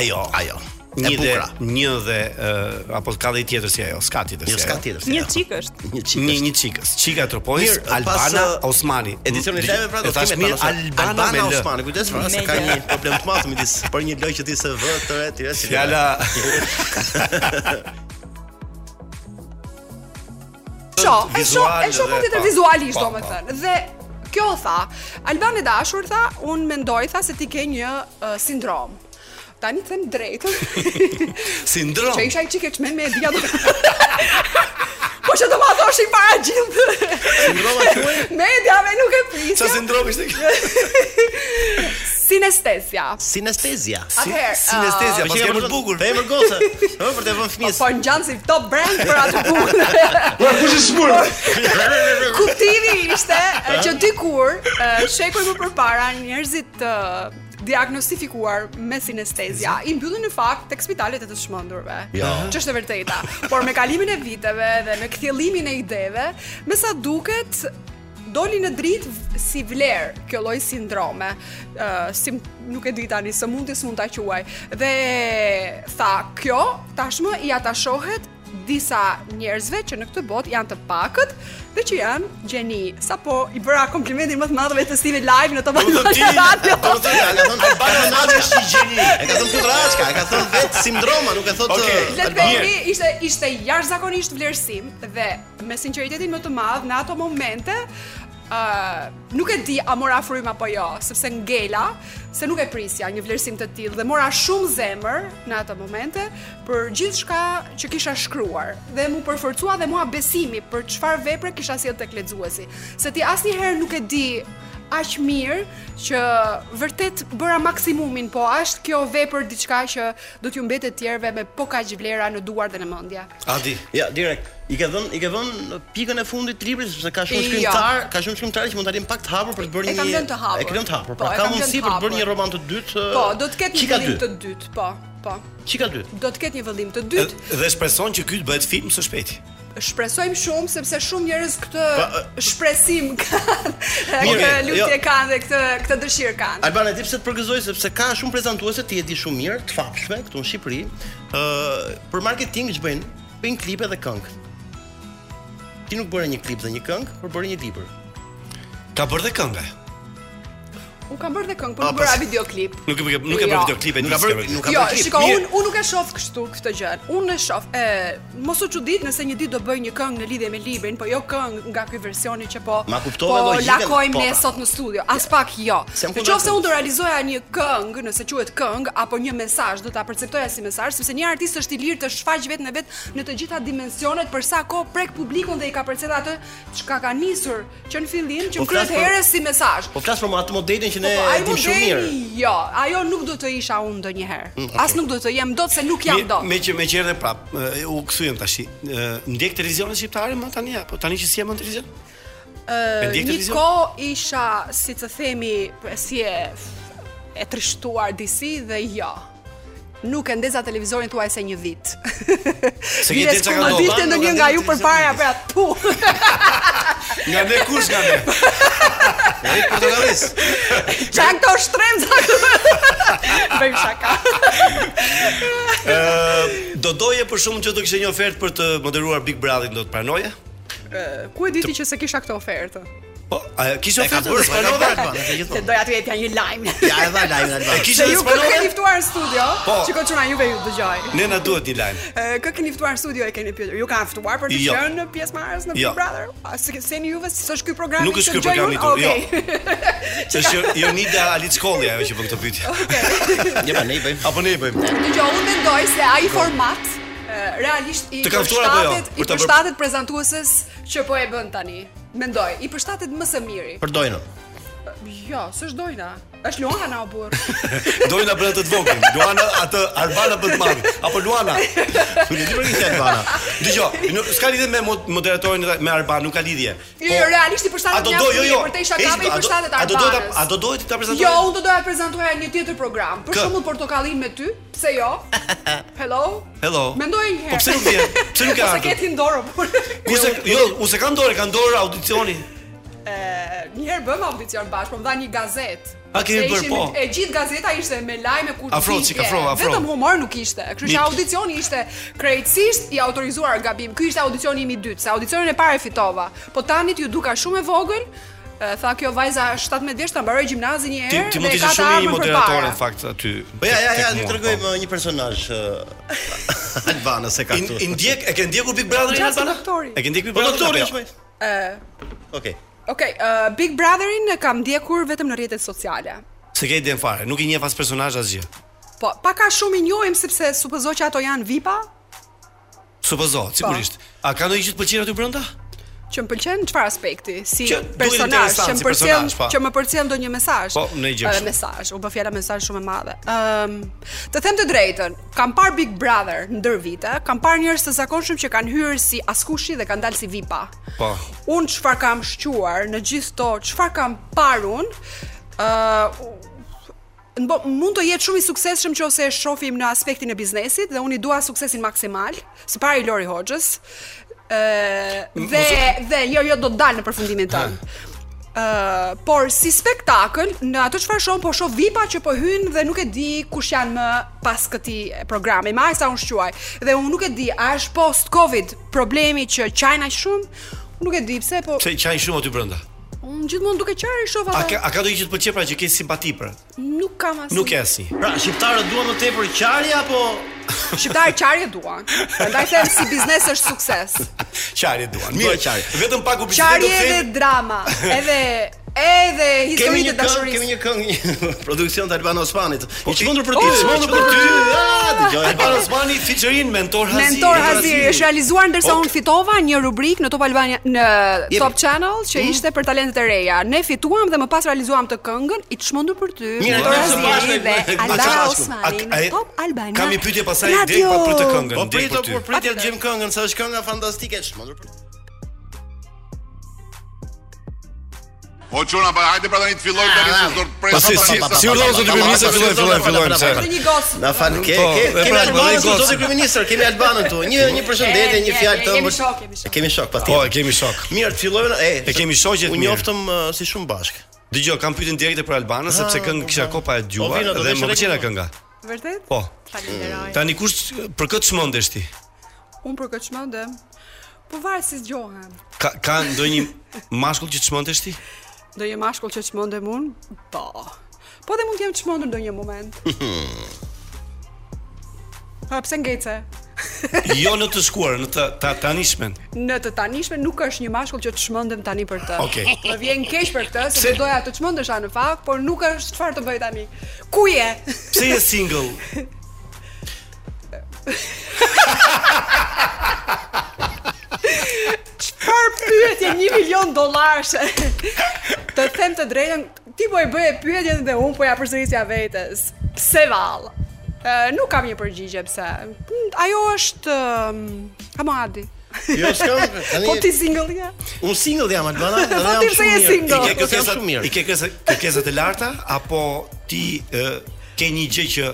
Speaker 6: ajo.
Speaker 5: ajo.
Speaker 6: Një
Speaker 5: e
Speaker 6: dhe
Speaker 5: bukura.
Speaker 6: një dhe ë, apo ka dhe i tjetër si ajo, s'ka tjetër si
Speaker 5: Jo
Speaker 6: ajo.
Speaker 5: s'ka tjetër. se
Speaker 9: Një
Speaker 5: ajo.
Speaker 9: çik është.
Speaker 5: Një
Speaker 6: Një
Speaker 5: çik.
Speaker 6: një çikës, çika Tropojës,
Speaker 5: Mirë,
Speaker 6: Albana
Speaker 5: pas, ë,
Speaker 6: Osmani.
Speaker 5: Edicioni
Speaker 6: Dëgjoj,
Speaker 5: lajme pra do
Speaker 6: e
Speaker 5: të
Speaker 6: thash
Speaker 5: kemi
Speaker 6: mirë Albana,
Speaker 5: Albana me
Speaker 6: me L.
Speaker 5: Osmani. Kujdes pra se
Speaker 9: Me
Speaker 5: ka
Speaker 9: L.
Speaker 5: një problem të madh midis për një lojë që ti se vë të re, ti re. si
Speaker 6: Fjala
Speaker 5: [LAUGHS]
Speaker 12: Sho, e sho, e sho
Speaker 6: vizual
Speaker 12: po tjetër
Speaker 6: dhe-
Speaker 12: vizualisht
Speaker 6: po,
Speaker 12: do me
Speaker 6: po.
Speaker 12: thënë Dhe kjo tha Alban e dashur tha Unë mendoj tha se ti ke një uh, sindrom Tani të them
Speaker 6: [LAUGHS]
Speaker 12: drejtën.
Speaker 6: Si ndron.
Speaker 12: Që isha i qike çmen me e dia do. [LAUGHS] po që do ma thosh i para gjithë.
Speaker 6: Sindroma
Speaker 12: [LAUGHS] thuaj? Me e dia me nuk e prisja.
Speaker 6: Sa sindrom ishte kjo? [LAUGHS]
Speaker 12: Sinestesia.
Speaker 5: Sinestezia.
Speaker 12: Atëherë, ë,
Speaker 5: sinestezia, pas
Speaker 12: po që
Speaker 5: kemi për bukur. Pe emër goca. Ëh, për të vënë fëmijës.
Speaker 12: Po ngjan si top brand për atë
Speaker 5: [LAUGHS]
Speaker 12: punë.
Speaker 5: Po kush e smur?
Speaker 12: [LAUGHS] Kuptimi ishte e, që dikur e, shekuj më përpara njerëzit të diagnostifikuar me sinestezia i mbyllin në fakt tek spitalet e të shmendurve.
Speaker 11: Ja.
Speaker 12: Që është e vërteta. Por me kalimin e viteve dhe me kthjellimin e ideve, me sa duket doli në dritë si vlerë kjo lloj sindrome. Ë si nuk e di tani sëmundje s'mund ta quaj. Dhe tha, kjo tashmë i atashohet disa njerëzve që në këtë botë janë të pakët dhe që janë gjeni. Sapo i bëra komplimentin më të madh vetes time live në Top
Speaker 5: Do të ti,
Speaker 12: Albania Radio.
Speaker 5: do të thotë, ka thënë Albana Nadia është i gjeni. E ka thënë Kudraçka, e ka thënë vetë sindroma, nuk e thotë
Speaker 12: Okej,
Speaker 5: uh,
Speaker 12: le të
Speaker 5: Albana.
Speaker 12: themi ishte ishte jashtëzakonisht vlerësim dhe me sinqeritetin më të madh në ato momente Uh, nuk e di a mora frym apo jo, sepse ngela se nuk e prisja një vlerësim të tillë dhe mora shumë zemër në ato momente për gjithçka që kisha shkruar dhe mu përforcua dhe mua besimi për çfarë vepre kisha sjell tek lexuesi, se ti asnjëherë nuk e di aq mirë që vërtet bëra maksimumin, po është kjo vepër diçka që do t'ju mbetet tjerëve me po kaq vlera në duar dhe në mendje.
Speaker 5: Adi. Ja, direkt. I ke dhën, i ke vën pikën e fundit të librit sepse ka shumë
Speaker 12: Jo.
Speaker 5: shkrimtar, ka shumë shkrimtarë që mund ta lënë pak të hapur për të
Speaker 12: E
Speaker 5: bërë një
Speaker 12: kam lënë të hapur.
Speaker 5: E kam lënë të hapur.
Speaker 12: Po,
Speaker 5: Pra
Speaker 12: e
Speaker 5: ka
Speaker 12: kam lënë
Speaker 5: mundësi
Speaker 12: të
Speaker 5: për të bërë
Speaker 12: hapur.
Speaker 5: një roman të dytë.
Speaker 12: Po, do të ketë një
Speaker 5: Qika
Speaker 12: vëllim
Speaker 5: dy.
Speaker 12: të dytë, po, po.
Speaker 5: Qika dy.
Speaker 12: Do të ketë një vëllim të dytë.
Speaker 6: Dhe shpreson që ky të bëhet film së shpejti.
Speaker 12: Shpresojmë shumë sepse shumë njerëz këtë
Speaker 6: Pa,
Speaker 12: shpresim [LAUGHS] kanë, këtë
Speaker 5: Mirë,
Speaker 12: lutje
Speaker 5: jo.
Speaker 12: kanë dhe këtë këtë dëshirë kanë.
Speaker 5: Albana, e di pse të përgëzoj sepse ka shumë prezantuese ti e di shumë mirë, të fapshme këtu në Shqipëri, ë për marketing ç'bëjnë? Bëjnë klipe dhe këngë. Ti nuk bëre një klip dhe një këngë, por bëre një libër.
Speaker 6: Ka bërë dhe këngë.
Speaker 12: Unë kam bërë dhe këngë, por
Speaker 5: A,
Speaker 12: nuk bëra
Speaker 5: pas-
Speaker 12: videoklip.
Speaker 6: Nuk e nuk e nuk e
Speaker 12: Jo.
Speaker 6: bërë videoklipe,
Speaker 5: Nuk ka bërë- nuk
Speaker 12: Jo, shiko, unë unë nuk e shoh kështu këtë gjë. Unë e shoh. E mos u çudit nëse një ditë do bëj një këngë në lidhje me librin, po jo këngë nga ky versioni që po
Speaker 5: Ma kuptova
Speaker 12: po
Speaker 5: logjikën, po,
Speaker 12: lakojmë ne
Speaker 5: pra.
Speaker 12: sot në studio. As pak jo.
Speaker 5: Se jam
Speaker 12: Në
Speaker 5: kundër
Speaker 12: qoftë se
Speaker 5: këtij.
Speaker 12: unë do realizoja një këngë, nëse quhet këngë apo një mesazh, do ta perceptoja si mesazh, sepse një artist është i lirë të shfaq vetën e vet në të gjitha dimensionet për sa kohë prek publikun dhe i ka perceptuar atë çka ka nisur që në fillim, që
Speaker 5: Po
Speaker 12: në kryet
Speaker 5: flas për-
Speaker 12: herës si mesazh.
Speaker 5: Po flas për atë modelin që ne
Speaker 12: Po, ai
Speaker 5: e dim shumë mirë.
Speaker 12: modeli, Jo, ajo nuk do të isha unë ndonjëherë.
Speaker 6: Mm,
Speaker 12: As nuk do të jem dot se nuk jam dot.
Speaker 6: Me që me që erdhe prap, e, u kthyem tash. e, Ndjek televizionin shqiptar më tani apo tani që si jam në televizion?
Speaker 12: Ë,
Speaker 6: ndjek
Speaker 12: Një
Speaker 6: televizion?
Speaker 12: kohë isha, si të themi, p- si e e trishtuar disi dhe jo. Nuk e ndeza televizorin thuaj se një vit.
Speaker 6: Se ke
Speaker 12: Vire
Speaker 6: ditë
Speaker 12: s'ku
Speaker 6: çka ka
Speaker 12: më
Speaker 6: ndodhur.
Speaker 12: dilte ndonjë nga ju përpara për po atë
Speaker 6: [LAUGHS]
Speaker 12: pu.
Speaker 6: Nga ne kush nga ne? Ai portokallis.
Speaker 12: Qa këto shtremza
Speaker 6: [LAUGHS]
Speaker 12: Bëjmë shaka.
Speaker 6: Ë do doje për shkakun që do kishte një ofertë për të moderuar Big Brother do të pranoje?
Speaker 12: Ë, Ku e diti që se kisha këtë ofertë?
Speaker 6: Po, a kishte
Speaker 5: E ka
Speaker 6: ofertë? do
Speaker 5: bërë, e ka
Speaker 6: pranove?
Speaker 5: bërë, Albana, se gjithmonë.
Speaker 12: Se doja të jepja një
Speaker 6: [LAUGHS]
Speaker 12: lajm.
Speaker 5: Ja, e dha lajmin Albana.
Speaker 6: E kishte
Speaker 12: Se ju këtë
Speaker 6: disponove?
Speaker 12: keni ftuar në studio,
Speaker 6: Po.
Speaker 12: çiko çuna juve ju dëgjoj.
Speaker 6: Ne na duhet një
Speaker 12: [LAUGHS]
Speaker 6: lajm.
Speaker 12: E, Kë keni ftuar në studio e keni pyetur. Ju kanë ftuar për të
Speaker 6: Jo.
Speaker 12: qenë në pjesëmarrës në
Speaker 6: Jo.
Speaker 12: Big Brother? A se seni juve se është ky programi?
Speaker 6: Nuk është
Speaker 12: që
Speaker 6: ky
Speaker 12: dëgjoj
Speaker 6: programi jo.
Speaker 12: unë?
Speaker 6: i
Speaker 12: Okej.
Speaker 6: Është Jo- Jonida Aliçkolli ajo që bën këtë
Speaker 12: [LAUGHS]
Speaker 6: pyetje.
Speaker 5: Ja, ne i bëjmë.
Speaker 6: Apo ne i bëjmë.
Speaker 12: [LAUGHS] Dëgjoj, unë mendoj se ai format e, realisht i
Speaker 6: Po. Të kanë ftuar apo jo? Për
Speaker 12: përshtatet i
Speaker 6: ta bërë-
Speaker 12: përshtatet prezantuesës që po e bën tani. Mendoj, i përshtatet më së miri.
Speaker 5: Për dojnë.
Speaker 12: Jo, s'është dojna. Është Luana o
Speaker 6: [LAUGHS]
Speaker 12: burr.
Speaker 6: Dojna bën atë të vogël. Luana atë Albana bën të madh. Apo
Speaker 12: [LAUGHS]
Speaker 6: Luana. Nuk e di për këtë Albana. Dgjoj, nuk- s'ka lidhje me mod- moderatorin edhe me Alban, nuk ka lidhje.
Speaker 12: Jo, jo, realisht i përshtatet
Speaker 6: A do
Speaker 12: një
Speaker 6: do jo
Speaker 12: afërmie,
Speaker 6: jo.
Speaker 12: për te isha
Speaker 6: Heq,
Speaker 12: kapi
Speaker 6: a
Speaker 12: i
Speaker 6: do-
Speaker 12: përshtatet
Speaker 6: A do do ta
Speaker 12: Albanës.
Speaker 6: a do dohet ta prezantoj?
Speaker 12: Jo, unë do doja të prezantoja një tjetër program. Për
Speaker 6: Kë?
Speaker 12: shembull portokallin me ty, pse jo?
Speaker 6: [LAUGHS]
Speaker 12: Hello?
Speaker 6: Hello.
Speaker 12: Mendoj një herë.
Speaker 6: Po pse nuk vjen? Pse
Speaker 12: [LAUGHS]
Speaker 6: nuk e
Speaker 12: Ose
Speaker 6: ardhur?
Speaker 12: ke ti ndorë, por. [LAUGHS]
Speaker 6: Kurse jo, unë se kam dorë, kam dorë audicioni.
Speaker 12: Ë, një herë bëmë audicion bashkë, po më dha një gazetë.
Speaker 6: A, keni
Speaker 12: Se
Speaker 6: bërë,
Speaker 12: ishim-
Speaker 6: po.
Speaker 12: E gjithë gazeta ishte me lajme kur
Speaker 6: Afro, çik, afro, afro.
Speaker 12: Vetëm humor nuk ishte. Kështu që
Speaker 6: Mik.
Speaker 12: audicioni ishte krejtësisht i autorizuar gabim. Ky ishte audicioni im i dytë, se audicionin e parë e fitova. Po tani ju duka shumë e vogël. e, Tha kjo vajza 17 vjeç ta mbaroi gjimnazin një
Speaker 6: Ti
Speaker 12: herë
Speaker 6: ti
Speaker 12: dhe
Speaker 6: mund të
Speaker 12: ka
Speaker 6: ishe
Speaker 12: të
Speaker 6: shumë i
Speaker 12: ardhmën
Speaker 6: moderator
Speaker 12: përpara.
Speaker 6: në fakt aty.
Speaker 5: Po ja, ja,
Speaker 6: tek
Speaker 5: ja,
Speaker 6: mua,
Speaker 5: ju
Speaker 6: po.
Speaker 5: tregoj më një personazh uh, Albana se ka
Speaker 6: I-
Speaker 5: këtu.
Speaker 6: i ndjek- e ke ndjekur Big Brotherin,
Speaker 12: Gjatë
Speaker 6: Albana?
Speaker 12: doktori.
Speaker 6: E ke ndjekur Big
Speaker 5: Po,
Speaker 6: Brotherin? apo
Speaker 5: doktori,
Speaker 6: jo?
Speaker 12: Ë,
Speaker 5: Okej.
Speaker 12: Okej, uh, Big Brotherin e kam ndjekur vetëm në rrjetet sociale.
Speaker 6: Se ke iden fare, nuk i njeh as personazh asgjë.
Speaker 12: Po, paka shumë i njohim sepse supozoj që ato janë VIP-a
Speaker 6: Supozohet, sigurisht. A ka ndonjë gjë të pëlqyer aty brenda?
Speaker 12: që më pëlqen çfarë aspekti, si
Speaker 6: Që duhet
Speaker 12: personazh,
Speaker 6: interesant si
Speaker 12: që më përcjell,
Speaker 6: personazh, po.
Speaker 12: që më përcjell ndonjë mesazh.
Speaker 6: Po, në gjë
Speaker 12: Ë,
Speaker 6: kështu.
Speaker 12: mesazh, u bë fjala mesazh shumë e madhe. Ëm, të them të drejtën, kam parë Big Brother ndër vite, kam parë njerëz të zakonshëm që kanë hyrë si askushi dhe kanë dalë si VIP-a.
Speaker 6: Po.
Speaker 12: Unë çfarë kam shquar në gjithë to, çfarë kam parë unë, ë në bo- mund të jetë shumë i suksesshëm nëse e shohim në aspektin e biznesit dhe unë i dua suksesin maksimal, së pari Lori Hoxhës. ë dhe dhe jo jo do të dal në përfundimin tënd. Uh, por si spektakël, në ato çfarë shoh, po shoh VIP-a që po hyjnë dhe nuk e di kush janë më pas këtij programi. Me aq sa unë shquaj. Dhe unë nuk e di, a është post Covid problemi që qajnë aq shumë? Unë Nuk e di pse, po
Speaker 6: Pse qajnë shumë aty brenda?
Speaker 12: unë gjithmonë duke qarë i shoh
Speaker 6: A
Speaker 12: atë.
Speaker 6: ka a ka ndonjë gjë të pëlqyer pra që ke simpati për?
Speaker 12: Nuk kam asnjë.
Speaker 6: Nuk e asnjë.
Speaker 5: Pra, shqiptarët duan më tepër qarje apo
Speaker 12: Shqiptarë qarje duan. Prandaj them si biznes është sukses.
Speaker 6: Qarje duan. Mirë, qarje. Vetëm pak u
Speaker 12: Qarje dhe drama, edhe edhe
Speaker 5: Kemi
Speaker 12: historitë e
Speaker 5: një këngë,
Speaker 12: dashurisë.
Speaker 5: kemi një këngë, një produksion të Albano Osmanit. I çmendur për ti,
Speaker 12: Oh,
Speaker 5: çmendur për ty. Ah, dëgjoj.
Speaker 6: Albano Osmani featurein mentor Haziri.
Speaker 12: Mentor Haziri është realizuar ndërsa unë fitova një rubrik në Top Albania në
Speaker 6: Jepi.
Speaker 12: Top Channel që
Speaker 6: Mhm.
Speaker 12: ishte për talentet e reja. Ne fituam dhe më pas realizuam të këngën i çmendur për ty.
Speaker 6: Mirë,
Speaker 12: Mentor
Speaker 6: ne së
Speaker 12: Haziri
Speaker 6: bashku-
Speaker 12: dhe
Speaker 6: a qa
Speaker 12: Albana
Speaker 6: bashku?
Speaker 12: Osmani
Speaker 6: A- a-
Speaker 12: në Top Albania.
Speaker 6: Kam një pyetje pasaj deri pa për të këngën,
Speaker 5: Po
Speaker 6: deri
Speaker 5: pritë,
Speaker 6: për ty.
Speaker 5: po pritë të gjem këngën, sa është kënga fantastike, çmendur për ty.
Speaker 11: O çuna, pa hajde pra tani të fillojmë tani se do të presim.
Speaker 6: Pasi, si- si urdhon zoti kryeminist, fillojmë, fillojmë, fillojmë, se- Është
Speaker 12: një gocë.
Speaker 5: Na fal, ke
Speaker 6: Po,
Speaker 5: ke
Speaker 6: e pra,
Speaker 5: kemi
Speaker 6: bëllë
Speaker 5: Albanën këtu
Speaker 6: gocë.
Speaker 5: zoti kryeminist, kemi Albanën këtu. Një një përshëndetje, një fjalë të
Speaker 12: Kemi shok, kemi shok.
Speaker 5: Kemi shok,
Speaker 6: Po,
Speaker 5: patjetër.
Speaker 6: e kemi shok.
Speaker 5: Mirë, të fillojmë, e,
Speaker 6: E kemi shoqjet
Speaker 5: u
Speaker 6: mirë.
Speaker 5: njoftëm uh, si shumë bashk.
Speaker 6: Dëgjoj, kam pyetën direkte për Albanën sepse këngë kisha kopa e
Speaker 5: Po,
Speaker 6: dëgjuar
Speaker 5: vino, do
Speaker 6: dhe
Speaker 5: të
Speaker 6: më
Speaker 5: shëroj
Speaker 6: pëlqen
Speaker 5: këngë.
Speaker 6: kënga.
Speaker 12: Vërtet?
Speaker 6: Po.
Speaker 12: Falenderoj.
Speaker 6: Tani kush për këtë çmendesh ti?
Speaker 12: Unë për këtë çmendem. Po varet si zgjohem.
Speaker 6: Ka ka ndonjë mashkull që çmendesh ti?
Speaker 12: Do një mashkull që çmendem unë? Po. Po dhe mund të jem çmendur ndonjë moment. Ha, pse ngece?
Speaker 6: jo në të shkuar, në të ta, tanishmen.
Speaker 12: Në të tanishmen nuk është një mashkull që të çmendem tani për të.
Speaker 6: Okej.
Speaker 12: Më vjen keq për këtë, se doja të çmendesha në fakt, por nuk është çfarë të bëj tani. Ku je?
Speaker 6: Pse je single?
Speaker 12: Çfarë pyetje 1 milion dollarëshe? [LAUGHS] të them të drejtën, ti po e bëje pyetjen dhe unë po ja përsërisja vetes. Pse vallë? Ë, nuk kam një përgjigje pse. Mm, Ajo është ë, um, Adi.
Speaker 5: Jo, s'kam, tani-
Speaker 12: po ti single je?
Speaker 5: Unë single jam Albana,
Speaker 12: Po,
Speaker 5: dhe jam
Speaker 12: ti pse
Speaker 5: shumë
Speaker 12: je
Speaker 5: mirë.
Speaker 12: single?
Speaker 6: I
Speaker 5: I ke
Speaker 6: ke
Speaker 5: jam
Speaker 6: kërkesat
Speaker 5: shumë mirë.
Speaker 6: i ke kërkesat kërkesat e larta apo ti e, ke një gjë që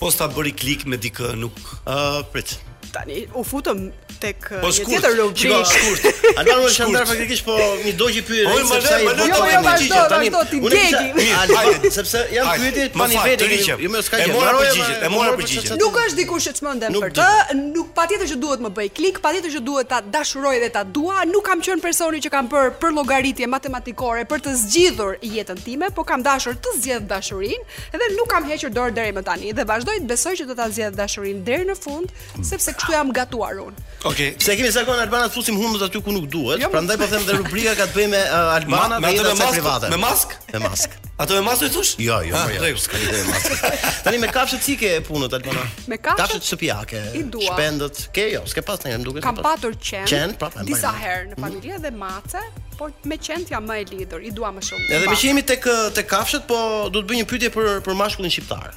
Speaker 6: posta bëri klik me dikë nuk
Speaker 5: ë prit.
Speaker 12: Tani u futëm tek ë,
Speaker 6: Po,
Speaker 12: një
Speaker 6: shkurt,
Speaker 12: tjetër
Speaker 6: shiko,
Speaker 12: rubrik.
Speaker 6: shkurt.
Speaker 5: Albano është
Speaker 6: Shkurt.
Speaker 5: ndar faktikisht po një dogji pyetje.
Speaker 6: Oj, ma le,
Speaker 5: sepse ai
Speaker 6: ma le, jo,
Speaker 12: jo,
Speaker 5: voton me një gjë,
Speaker 12: vazhdo,
Speaker 5: tani-
Speaker 12: vazhdo, ti
Speaker 5: unë e kisha-
Speaker 12: degji.
Speaker 5: Mirë, Albano, sepse janë
Speaker 6: Hajde,
Speaker 5: pyetje
Speaker 6: më
Speaker 5: pa
Speaker 6: fal,
Speaker 5: niveli.
Speaker 6: të riqem.
Speaker 5: Jo, më s'ka
Speaker 6: E
Speaker 5: gjë.
Speaker 6: mora
Speaker 5: Mbaroja,
Speaker 6: përgjigjet, e
Speaker 5: ma-
Speaker 6: mora
Speaker 5: mora
Speaker 6: përgjigjet.
Speaker 5: përgjigjet.
Speaker 12: Nuk është dikush që çmendem
Speaker 5: Nuk
Speaker 12: për të, nuk patjetër që duhet më bëj klik, patjetër që duhet ta dashuroj dhe ta dua, nuk kam qenë personi që kam bërë për llogaritje matematikore për të zgjidhur jetën time, por kam dashur të zgjedh dashurinë dhe nuk kam hequr dorë deri më tani dhe vazhdoj të besoj që do ta zgjedh dashurinë deri në fund, sepse kështu jam gatuar unë.
Speaker 6: Okej.
Speaker 5: Se kemi zakon Albana të fusim humbët aty ku nuk duhet,
Speaker 12: Jo,
Speaker 5: prandaj po them dhe rubrika ka të bëjë me uh, Albana
Speaker 6: Ma- me
Speaker 5: dhe
Speaker 6: atë
Speaker 5: jetën
Speaker 6: me
Speaker 5: e
Speaker 6: mask-
Speaker 5: private.
Speaker 6: me mask?
Speaker 5: Me mask.
Speaker 6: Ato e masë i thosh?
Speaker 5: Jo, jo,
Speaker 6: Ah,
Speaker 5: jo.
Speaker 6: rregull,
Speaker 5: S'ka lidhje me mask. Tani me kafshët si ke punët Albana?
Speaker 12: Me kafshët?
Speaker 5: Kafshët shtëpiake,
Speaker 12: I dua.
Speaker 5: shpendët. Ke jo, s'ke pas ndonjë, më duket.
Speaker 12: Kam
Speaker 5: s'ke pas.
Speaker 12: patur qen,
Speaker 5: Qen, pra, e mbaj
Speaker 12: disa
Speaker 5: mend.
Speaker 12: herë në familje dhe mace, por me qen jam më e lidhur, i dua më shumë.
Speaker 5: Edhe
Speaker 12: Pa.
Speaker 5: me që jemi tek uh, tek kafshët, po do të bëj një pyetje për për mashkullin shqiptar.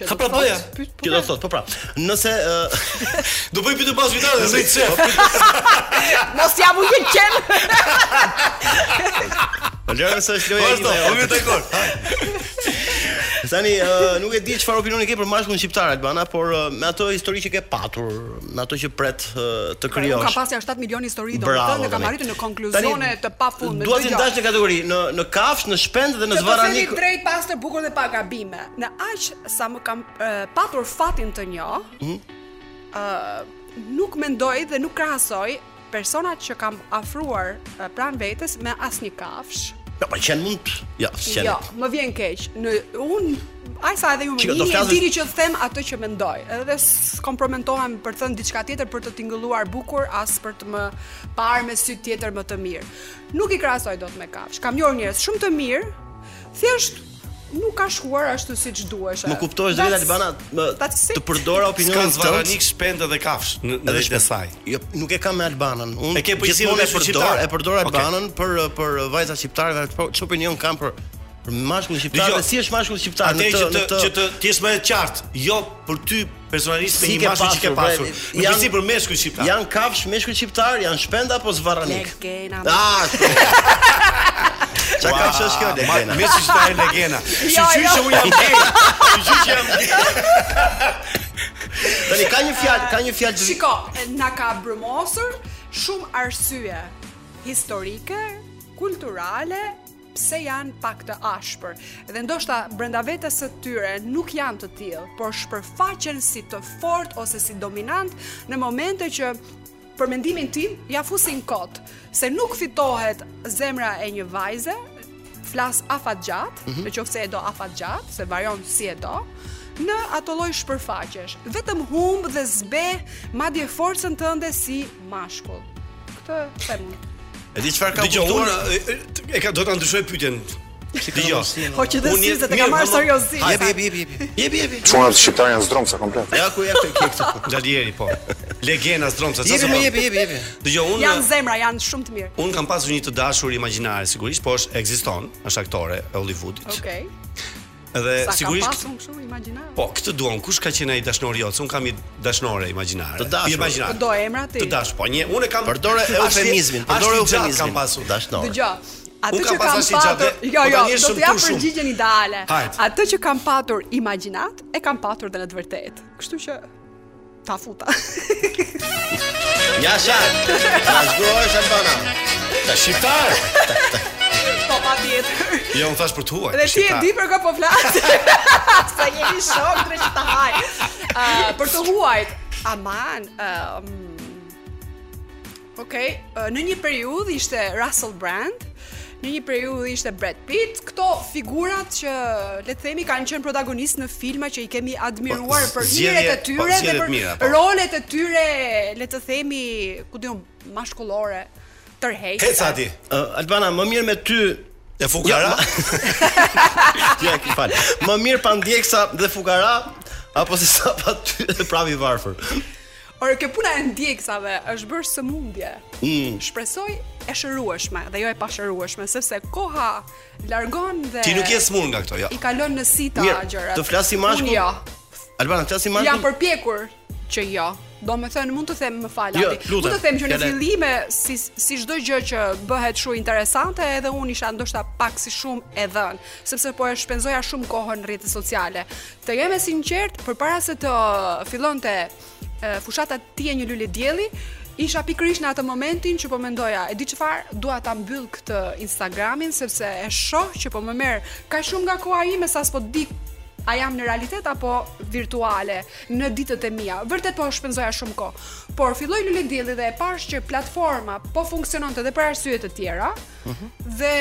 Speaker 12: Që
Speaker 5: Ka
Speaker 12: do
Speaker 5: pra bëja.
Speaker 12: thotë, pyet- po
Speaker 5: Që do thot, po pra. Nëse uh,
Speaker 6: [LAUGHS]
Speaker 12: [LAUGHS]
Speaker 6: Do bëj pyetje pas vitave, se i çe.
Speaker 12: Mos jam u një qen.
Speaker 5: [LAUGHS] Lërën se është loja
Speaker 6: Vazhdo, po mirë dakor.
Speaker 5: Tani ë, nuk e di çfarë opinioni ke për mashkullin shqiptar Albana, por ë, me ato histori që ke patur, me ato që pret ë,
Speaker 12: Unë
Speaker 5: të
Speaker 12: kam
Speaker 5: krijosh.
Speaker 12: pasja 7 milion histori do të
Speaker 5: Bravo,
Speaker 12: thënë, kam
Speaker 5: Dani.
Speaker 12: arritur në konkluzione të pafundme.
Speaker 5: Dua
Speaker 12: çdo
Speaker 5: të
Speaker 12: gjë.
Speaker 5: ndash në kategori, në në kafsh, në shpend dhe në
Speaker 12: Që të themi
Speaker 5: zvaranik.
Speaker 12: drejt pas të bukur dhe pa gabime. Në aq sa më kam e, patur fatin të njoh,
Speaker 5: Mhm.
Speaker 12: ë nuk mendoj dhe nuk krahasoj personat që kam afruar e, pranë vetes me asnjë kafsh.
Speaker 5: Jo, po qen mund. Jo, qen.
Speaker 12: Jo, më vjen keq. Në un Ai sa edhe ju më
Speaker 5: Shiko, do
Speaker 12: njihni, e
Speaker 5: flasësh-
Speaker 12: dini që them atë që mendoj. Edhe s'kompromentohem për të thënë diçka tjetër për të tingëlluar bukur as për të më parë me sy tjetër më të mirë. Nuk i krahasoj dot me kafsh. Kam njohur njerëz shumë të mirë, thjesht nuk ka shkuar ashtu siç duhesha.
Speaker 5: Më kuptosh drejt Albana, më- të përdora opinionin
Speaker 6: S'kan
Speaker 5: tënd.
Speaker 6: zvaranik, shpendë dhe kafsh në në
Speaker 5: Edhe
Speaker 6: vetë e saj.
Speaker 5: Jo, nuk e kam me Albanën. Unë
Speaker 6: E ke përgjithësi
Speaker 5: gjithmonë
Speaker 6: me
Speaker 5: e përdor,
Speaker 6: shqiptar.
Speaker 5: e përdor
Speaker 6: Okej.
Speaker 5: Albanën për për vajza shqiptare, dhe po ç'opinion kam për për mashkullin shqiptar,
Speaker 6: Dgjoj.
Speaker 5: dhe si është mashkulli shqiptar në
Speaker 6: Atë
Speaker 5: të
Speaker 6: që të
Speaker 5: në të
Speaker 6: që të ti jesh më e qartë, jo për ty personalisht me
Speaker 5: Si
Speaker 6: një
Speaker 5: ke
Speaker 6: mashkull që ke
Speaker 5: pasur,
Speaker 6: pasur.
Speaker 5: bre,
Speaker 6: Në
Speaker 5: janë-
Speaker 6: përgjithësi për meshkull shqiptar.
Speaker 5: Janë kafsh meshkull shqiptar, janë shpend apo zvaranik?
Speaker 12: Legena.
Speaker 6: [LAUGHS]
Speaker 5: Ah, shko. Çka ka është kjo legena?
Speaker 6: Me që shta e
Speaker 5: [LAUGHS]
Speaker 6: legena Shqyqy
Speaker 5: jo.
Speaker 6: që
Speaker 5: [LAUGHS]
Speaker 6: unë jam gej Shqyqy që jam
Speaker 5: Tani ka një fjalë, ka një fjalë të
Speaker 12: Shiko, na ka brëmosur shumë arsye historike, kulturale, pse janë pak të ashpër. Dhe ndoshta brenda vetes së tyre nuk janë të tillë, por shpërfaqen si të fortë ose si dominant në momente që për mendimin tim ja fusin kot, se nuk fitohet zemra e një vajze, flas afatgjat,
Speaker 13: Mhm.
Speaker 12: në qoftë se e do afatgjat, se varion si e do, në ato lloj shpërfaqesh. Vetëm humb dhe zbe madje forcën tënde si mashkull. Këtë them unë.
Speaker 5: E di çfarë
Speaker 6: ka kuptuar? e ka do ta ndryshoj pyetjen. Dgjoj.
Speaker 12: Po që dhe
Speaker 6: Unë
Speaker 12: si
Speaker 6: jem-
Speaker 12: se të
Speaker 6: mirë,
Speaker 12: ka marrë
Speaker 6: valla.
Speaker 12: seriozisht.
Speaker 6: Jepi, jepi, jepi, jepi. Jepi, jepi. [LAUGHS]
Speaker 11: Çunat shqiptare janë zdromca komplet.
Speaker 5: Ja ku ja ku ke këtë.
Speaker 6: Gjalieri po. Legena Stromca.
Speaker 5: Jepi, më jepi, jepi, jepi.
Speaker 6: Dgjoj, unë
Speaker 12: Janë zemra, janë shumë të mirë.
Speaker 6: un kam pasur një të dashur imagjinare sigurisht, po është ekziston, është aktore e Hollywoodit.
Speaker 12: Okej.
Speaker 6: Edhe
Speaker 12: Sa ka
Speaker 6: sigurisht
Speaker 12: pasur kështu imagjinar.
Speaker 6: Po, këtë duam. Kush ka qenë ai dashnori jot? Se Un kam një dashnore imagjinare.
Speaker 5: Të dashur.
Speaker 6: Imagjinare.
Speaker 12: Do emra ti.
Speaker 6: Po, Të dash, po një, unë e kam
Speaker 5: Përdore eufemizmin, përdore eufemizmin.
Speaker 6: Kam pasur
Speaker 5: dashnore.
Speaker 12: Dgjoj. Atë
Speaker 6: Unë
Speaker 12: që
Speaker 6: kam
Speaker 12: kam
Speaker 6: pasur si
Speaker 12: patur,
Speaker 6: gjatë,
Speaker 12: jo
Speaker 6: po
Speaker 12: jo,
Speaker 6: tani është
Speaker 12: do
Speaker 6: shumë
Speaker 12: të jap
Speaker 6: punë shumë.
Speaker 12: përgjigjen ideale.
Speaker 6: Hajt.
Speaker 12: Atë që kam patur imagjinat, e kam patur dhe në të vërtetë. Kështu që ta futa. [LAUGHS]
Speaker 5: Ja shaj.
Speaker 6: [LAUGHS]
Speaker 5: Ta zgjohesh Albana. Ta shqiptar.
Speaker 12: po patjetër.
Speaker 6: Jo, unë thash për të huaj.
Speaker 12: Dhe ti e
Speaker 6: shqiptar.
Speaker 12: di për kë po flas. [LAUGHS] Sa jemi shok drejt që ta [LAUGHS] haj. Ah, Ë, për të huajt, aman, ë Okej, ë, uh, në një periudhë ishte Russell Brand, në një periudhë ishte Brad Pitt. Këto figurat që le të themi kanë qenë protagonistë në filma që i kemi admiruar
Speaker 6: Po,
Speaker 12: për
Speaker 6: zgjedhje-
Speaker 12: mirët e
Speaker 6: po,
Speaker 12: tyre dhe
Speaker 6: zgjedhjet
Speaker 12: për
Speaker 6: mira, po.
Speaker 12: rolet e tyre, le të themi, ku diun, mashkullore, tërheqëse.
Speaker 5: Ë, Albana, më mirë me ty Jo,
Speaker 6: e fukara.
Speaker 5: [LAUGHS] Ja, ki fal. Më mirë pa ndjeksa dhe fukara apo se sa pa ty dhe pravi varfër.
Speaker 12: Ore, kjo puna e ndjekësave është bërë sëmundje.
Speaker 5: Mm.
Speaker 12: Shpresoj e shërueshme dhe jo e pashërueshme, sepse koha largon dhe
Speaker 6: Ti nuk je smur nga këto, jo.
Speaker 12: I kalon në sita
Speaker 5: Mirë,
Speaker 12: gjërat.
Speaker 5: të flasim mashkull?
Speaker 12: Unë jo.
Speaker 5: Albana, flasim më
Speaker 12: Jam përpjekur që jo. Do me thënë, mund të them më falë,
Speaker 5: Jo,
Speaker 12: Adi.
Speaker 5: lutem,
Speaker 12: mund të them që në
Speaker 5: fjale.
Speaker 12: fillime, si, si shdo gjë që bëhet shu interesante, edhe unë isha ndoshta pak si shumë e dhënë, sepse po e shpenzoja shumë kohën në rrjetet sociale. Të jeme sinqert, për para se të fillon të fushata ti e një lulli djeli, isha pikërisht në atë momentin që po mendoja, e di çfarë, dua ta mbyll këtë Instagramin sepse e shoh që po më merr ka shumë nga koha ime sa s'po di a jam në realitet apo virtuale në ditët e mia. Vërtet po shpenzoja shumë kohë. Por filloi lule dielli dhe e pash që platforma po funksiononte edhe për arsye të tjera dhe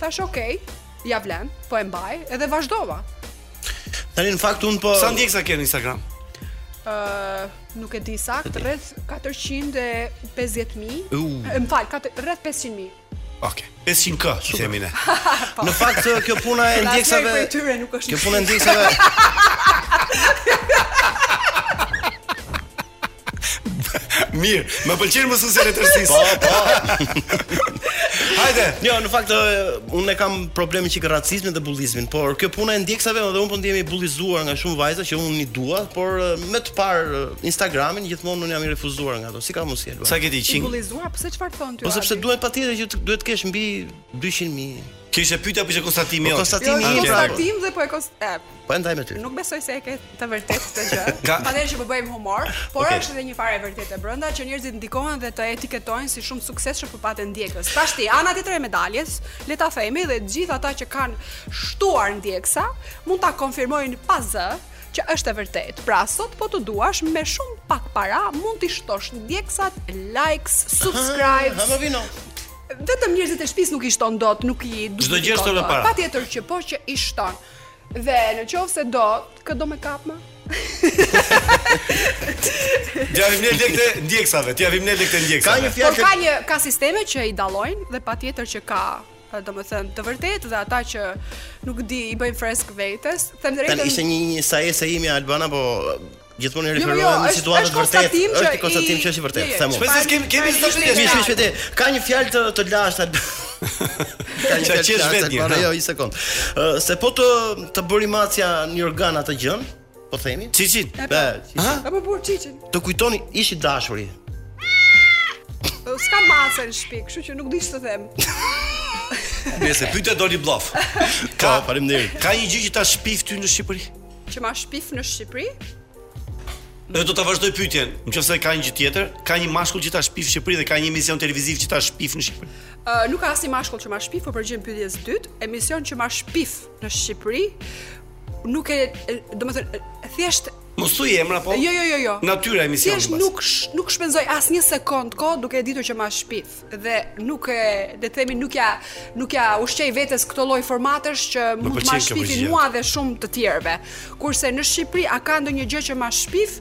Speaker 12: thash okay, ja vlen, po e mbaj edhe vazhdova.
Speaker 5: Tani në fakt un po
Speaker 6: Sa ndjeksa ke në Instagram?
Speaker 12: Ë, nuk e di sakt, rreth 450.000.
Speaker 6: U.
Speaker 12: Uh. Më fal, katë- rreth 500.000.
Speaker 6: Okej. 500k, i themi ne.
Speaker 12: Po.
Speaker 5: Në
Speaker 6: [LAUGHS]
Speaker 5: fakt kjo puna e
Speaker 12: Dhe
Speaker 5: ndjekësave
Speaker 12: asnjëri prej tyre nuk është. [LAUGHS]
Speaker 5: Kjo puna e ndjekësave
Speaker 6: Mirë, më pëlqen mësuesja e letërsisë.
Speaker 5: Po, po.
Speaker 6: [LAUGHS]
Speaker 5: Hajde. Jo, në fakt ë, unë e kam problemin që racizmin dhe bullizmin, por kjo puna e ndjekësave dhe unë po ndjehemi bullizuar nga shumë vajza që unë i dua, por ë, me të parë ë, Instagramin gjithmonë unë jam i refuzuar nga ato. Si ka mundsi Elba?
Speaker 6: Sa ke ti,
Speaker 12: I bullizuar, pse çfarë thon ty?
Speaker 5: Po sepse
Speaker 12: Adi?
Speaker 5: duhet patjetër që të- duhet të kesh mbi 200.000.
Speaker 6: Kishte pyetja apo ishte konstatimi
Speaker 5: Po,
Speaker 6: jot?
Speaker 5: konstatimi
Speaker 12: Jo,
Speaker 5: im,
Speaker 12: jo,
Speaker 5: pra.
Speaker 12: konstatim dhe po e konst... e,
Speaker 5: Po e ndaj me ty.
Speaker 12: Nuk besoj se e ke të vërtetë këtë gjë.
Speaker 5: Ka-
Speaker 12: Patjetër që po bëjmë humor, por
Speaker 5: Okej.
Speaker 12: është edhe një fare e vërtetë e brenda që njerëzit ndikohen dhe të etiketojnë si shumë suksesshëm për patë ndjekës. Tash ti ana tjetër e medaljes, le ta themi dhe të gjithë ata që kanë shtuar ndjeksa mund ta konfirmojnë pa zë që është e vërtetë. Pra sot po të duash me shumë pak para mund t'i shtosh ndjeksat, likes, subscribes.
Speaker 5: ha, më Ah. vino.
Speaker 12: Vetëm njerëzit e shtëpisë nuk i shton dot, nuk i duplikon.
Speaker 6: Çdo gjë shton me
Speaker 12: dot.
Speaker 6: para.
Speaker 12: Patjetër që po që i shton. Dhe në qovë se do, këtë do me kap më?
Speaker 6: T'javim ne lekët e ndjekësave, t'javim ne lekët e ndjekësave.
Speaker 12: Por ka një ka sisteme që i dallojnë dhe patjetër që ka domethënë të vërtetë dhe ata që nuk di i bëjnë fresk vetes, them
Speaker 5: Tan
Speaker 12: drejtën.
Speaker 5: ishte një një sajese ime Albana, po gjithmonë
Speaker 12: Jo, jo,
Speaker 5: referohem në
Speaker 12: është-
Speaker 5: situata
Speaker 12: është
Speaker 5: të vërtetë.
Speaker 12: konstatim që
Speaker 5: Është
Speaker 12: i-
Speaker 5: një konstatim që është i
Speaker 12: Jo,
Speaker 5: vërtetë,
Speaker 12: jo,
Speaker 5: them unë.
Speaker 12: Shpresoj se s'kemi- kemi disa pyetje.
Speaker 5: Shpesh, shpesh, shpesh. Ka një fjalë të të lashtë Albana. Ka një
Speaker 6: Qa
Speaker 5: fjalë të
Speaker 6: qesh
Speaker 5: lashtë
Speaker 6: vetë një,
Speaker 5: Albana,
Speaker 6: ha?
Speaker 5: jo, një sekond. Ë, se po të të bëri macja një organ atë gjën, po themi.
Speaker 6: Çiçin.
Speaker 5: Be,
Speaker 12: Apo burçiçin.
Speaker 5: të kujtoni ish i dashuri.
Speaker 12: Po, S'ka masë në shtëpi, kështu që nuk di ç'të
Speaker 6: [LAUGHS]
Speaker 12: them.
Speaker 6: Nëse pyetja doli bllaf. Ka, faleminderit. Ka një gjë që ta shpif ty në Shqipëri?
Speaker 12: Që ma shpif në Shqipëri?
Speaker 6: Dhe do ta vazhdoj pyetjen. Nëse ka një gjë tjetër, ka një mashkull që ta shpif në Shqipëri dhe ka një emision televiziv që ta shpif në Shqipëri.
Speaker 12: Ë, nuk ka asnjë mashkull që ma shpif, por përgjigjem pyetjes së dytë, emision që ma shpif në Shqipëri. Nuk e, e, domethënë, e, thjesht
Speaker 6: Mos thuaj emra po.
Speaker 12: Jo, jo, jo, jo.
Speaker 6: Natyra e emisionit.
Speaker 12: Thjesht nuk sh, nuk shpenzoj asnjë sekond kohë duke e ditur që ma shpif dhe nuk e le të themi nuk ja nuk ja ushqej vetes këto lloj formatesh që mund të ma
Speaker 6: pëlqen kjo
Speaker 12: shpifin
Speaker 6: përgjigje.
Speaker 12: mua dhe shumë të tjerëve. Kurse në Shqipëri a ka ndonjë gjë që ma shpif?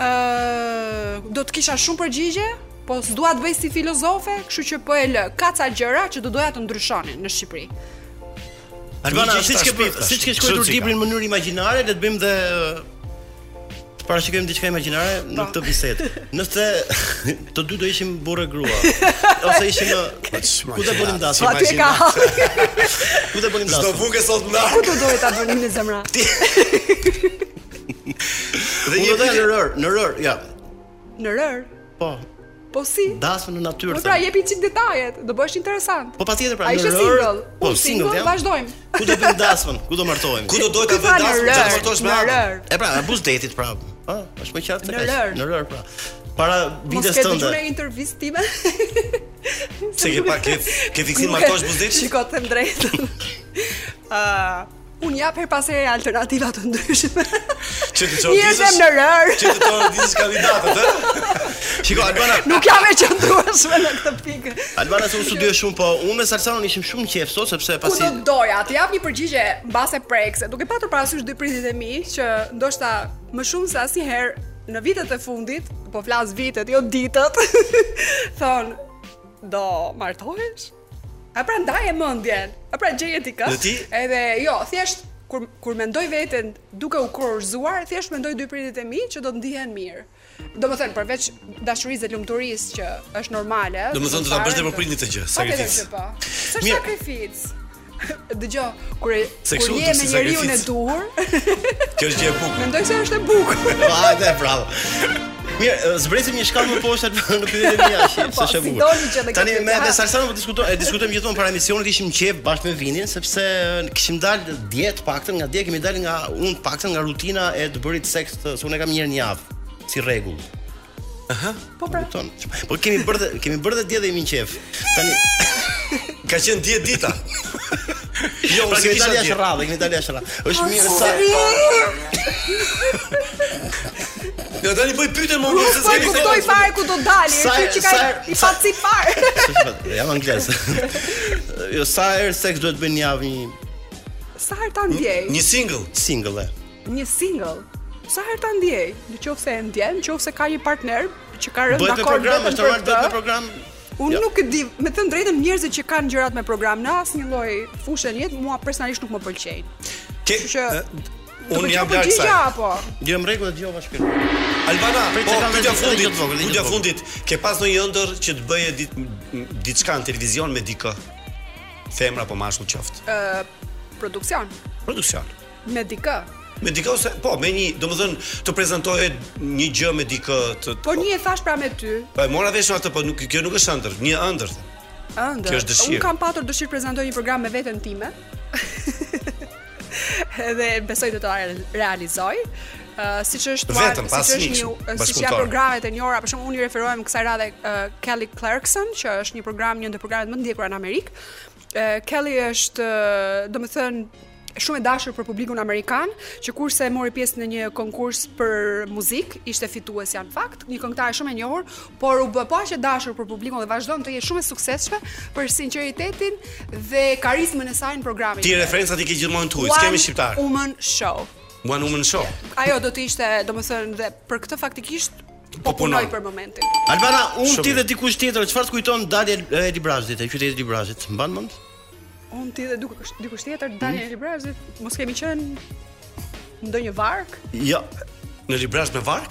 Speaker 12: ë do të kisha shumë përgjigje, po s'dua të bëj si filozofe, kështu që po e lë. Ka ca gjëra që do doja të ndryshonin në Shqipëri.
Speaker 5: Albana,
Speaker 6: Një gjë që
Speaker 5: siç
Speaker 6: ta
Speaker 5: ke
Speaker 6: shpif tash.
Speaker 5: siç ke shkruar
Speaker 6: Kështu si ka.
Speaker 5: librin në mënyrë imagjinare, le të bëjmë dhe ë, të parashikojmë diçka imagjinare në këtë bisedë. Nëse të dy do ishim burrë grua ose ishim ë, ku do bënim dasmë?
Speaker 12: Po aty e ka [LAUGHS]
Speaker 5: Ku do bënim dasmë?
Speaker 2: Çdo vukë sot nda.
Speaker 12: Ku do dohet ta bënim në zemra?
Speaker 5: Dhe një dhe në rër, në rër, ja.
Speaker 12: Në rër.
Speaker 5: Po,
Speaker 12: Po si?
Speaker 5: dasmë në
Speaker 12: Po
Speaker 5: natyrë.
Speaker 12: pra
Speaker 5: thënë.
Speaker 12: jepi çik detajet, do bësh interesant.
Speaker 5: Po patjetër pra
Speaker 12: A
Speaker 5: në
Speaker 12: ishte
Speaker 5: rër.
Speaker 12: single?
Speaker 5: Po
Speaker 12: Unë
Speaker 5: single,
Speaker 12: single,
Speaker 5: jam.
Speaker 12: vazhdojmë.
Speaker 5: Ku do bëjmë dasmën? Ku do martohemi?
Speaker 6: Ku do dojë ta
Speaker 12: Ky
Speaker 6: vë
Speaker 12: tha në
Speaker 6: dasmë,
Speaker 12: rër,
Speaker 6: ta martosh me
Speaker 12: në
Speaker 6: atë.
Speaker 12: rër.
Speaker 5: E pra, në buzdetit pra. Ë, është më qartë
Speaker 12: Në
Speaker 5: se kaq.
Speaker 12: rër.
Speaker 5: Në rër pra. Para
Speaker 12: Mos
Speaker 5: vites
Speaker 12: ke
Speaker 5: tënde.
Speaker 12: dëgjuar intervistë time?
Speaker 6: Se ke pa ke
Speaker 12: [LAUGHS]
Speaker 6: ke fiksim
Speaker 12: Nuk e-
Speaker 6: martosh buzdetin?
Speaker 12: Shiko, të them drejtën. [LAUGHS] Ah, unë jap her pas here alternativa të ndryshme.
Speaker 6: Çe
Speaker 12: [LAUGHS]
Speaker 6: të çon
Speaker 12: Njerëz jam në rër.
Speaker 6: Çe të çon dizës kandidatët, ë?
Speaker 5: Shiko Albana.
Speaker 12: Nuk jam e qëndrueshme në këtë pikë.
Speaker 5: Albana se unë studioj shumë, po unë me Salsanon ishim shumë qejf sot sepse
Speaker 12: Ku
Speaker 5: pasi
Speaker 12: do doja të jap një përgjigje mbase prekse, duke patur parasysh dy pritit e mi që ndoshta më shumë se asnjëherë në vitet e fundit, po flas vitet, jo ditët, [LAUGHS] thon do martohesh? A pra ndaje mendjen. A pra gjeje ti kë?
Speaker 6: Dhe ti?
Speaker 12: Edhe jo, thjesht kur kur mendoj veten duke u kurorzuar, thjesht mendoj dy pritit e mi që do të ndihen mirë. Domethënë përveç dashurisë dhe lumturisë që është normale.
Speaker 6: Domethënë do ta bësh dhe për prindin të gjë, sakrificë.
Speaker 12: Sakrificë. Po. Së
Speaker 6: Mirë.
Speaker 12: sakrificë. Dëgjoj, kur e-
Speaker 6: Se
Speaker 12: kur
Speaker 6: kështu
Speaker 12: je
Speaker 6: duhet
Speaker 12: me
Speaker 6: si
Speaker 12: njeriu në
Speaker 6: sakrificë.
Speaker 12: duhur, [LAUGHS]
Speaker 6: Kjo është gjë e bukur.
Speaker 12: mendoj se është e bukur.
Speaker 5: Po, Hajde, bravo. Mirë, ë, zbresim një shkallë më poshtë Albana, në pyetjen e mia, shi-
Speaker 12: [LAUGHS] Po,
Speaker 5: se është e
Speaker 12: si
Speaker 5: bukur.
Speaker 12: doni që dhe
Speaker 5: Tani
Speaker 12: këtë
Speaker 5: me me
Speaker 12: ha.
Speaker 5: Salsanon po diskutojmë, e diskutojmë gjithmonë para emisionit, ishim qejf bashkë me Vinin sepse ë, kishim dalë dje të paktën nga dje kemi dalë nga unë të paktën nga rutina e të bërit seks, të- se unë e kam një herë në javë si rregull.
Speaker 12: Po pra.
Speaker 5: Kupton? Po kemi bërë dhe- kemi bërë dhe dje dhe imin qejf. Tani
Speaker 6: Ka qenë 10 dita. Jo,
Speaker 5: pra
Speaker 6: unë
Speaker 5: kemi
Speaker 6: kisha
Speaker 5: dalë
Speaker 6: dje.
Speaker 5: jashtë rradhë, kemi dalë jashtë rradhë.
Speaker 12: Po,
Speaker 5: Është mirë sa
Speaker 6: Jo, tani bëj pyetjen më unë se
Speaker 12: Po e
Speaker 6: s'kemi
Speaker 12: kuptoj
Speaker 6: kohë.
Speaker 12: fare ku do dali,
Speaker 5: Sa-
Speaker 12: është që ka
Speaker 5: sa-
Speaker 12: i paci fare.
Speaker 5: jam anglez. Jo sa herë seks duhet bëjnë në javë një
Speaker 12: Sa herë ta ndjej?
Speaker 6: Një single.
Speaker 5: single. e?
Speaker 12: Një single. Sa herë ta ndjej? Në qoftë se e ndjen, në qoftë se ka një partner që ka rënë
Speaker 5: Bëhet me
Speaker 12: dakord
Speaker 5: program,
Speaker 12: vetëm
Speaker 5: është
Speaker 12: për
Speaker 5: normal bëhet me
Speaker 12: këtë.
Speaker 5: program.
Speaker 12: Unë nuk e di, me të drejtën njerëzit që kanë gjërat me program në asnjë lloj fushë jetë, mua personalisht nuk më pëlqejnë.
Speaker 6: Ke
Speaker 12: Kështu që do
Speaker 6: unë
Speaker 12: të
Speaker 6: jam
Speaker 12: qenë
Speaker 6: larg
Speaker 12: përgjigje
Speaker 6: sa.
Speaker 12: apo?
Speaker 5: Dje më rregull e dëgjova shpirt.
Speaker 6: Albana,
Speaker 5: Prit
Speaker 6: po
Speaker 5: se kam
Speaker 6: pyetja
Speaker 5: vënë një
Speaker 6: fundit,
Speaker 5: gjë të vogël, një gjë
Speaker 6: pyetja
Speaker 5: të vogël.
Speaker 6: fundit, ke pas ndonjë ëndër që të bëje dit- m- diçka në televizion me dikë? Femra apo mashkull qoftë.
Speaker 12: Ë produksion
Speaker 6: Produksion.
Speaker 12: me dikë.
Speaker 6: Me dikë ose po, me një, domethënë të prezantohet një gjë me dikë të
Speaker 12: Po një e thash pra me ty,
Speaker 6: Po e mora vesh atë, po nuk kjo nuk është ëndër, një ëndër.
Speaker 12: ëndër.
Speaker 6: Kjo është dëshirë.
Speaker 12: Unë kam patur dëshirë të prezantoj një program me veten time. [LAUGHS] Edhe besoj do ta re- realizoj. Uh, siç është Wild-
Speaker 6: Vetëm, pas
Speaker 12: siç
Speaker 6: një
Speaker 12: është një
Speaker 6: kështu,
Speaker 12: siç
Speaker 6: bashkëpunëtor.
Speaker 12: janë programet e njëjta, për shembull unë i referohem kësaj radhe uh, Kelly Clarkson, që është një program një ndër programet më të ndjekura në Amerikë. Uh, Kelly është, uh, domethënë, shumë e dashur për publikun amerikan, që kurse mori pjesë në një konkurs për muzikë, ishte fituesja në fakt, një këngëtare shumë e njohur, por u bë paqë e dashur për publikun dhe vazhdon të jetë shumë e suksesshme për sinqeritetin dhe karizmën e saj në programin.
Speaker 6: Ti
Speaker 12: e vet.
Speaker 6: referencat i ke gjithmonë tuaj,
Speaker 12: One
Speaker 6: s'kemi shqiptar.
Speaker 12: Woman Show.
Speaker 6: One woman show.
Speaker 12: Ajo do të ishte, domethënë, dhe për këtë faktikisht
Speaker 6: Po
Speaker 12: po
Speaker 6: punon.
Speaker 12: punoj për momentin.
Speaker 5: Albana, unë
Speaker 6: Shumë
Speaker 5: ti
Speaker 6: mirë.
Speaker 5: eh, dhe dikush tjetër, çfarë të kujton dalja e Librazit, e qytetit të Librazit? Mban mend?
Speaker 12: on ti dhe duke kush- dikush tjetër
Speaker 6: Hmm?
Speaker 12: dalin e librazit, mos kemi qenë ndonjë
Speaker 6: [LAUGHS]
Speaker 12: vark.
Speaker 6: Jo. Në librazh me vark?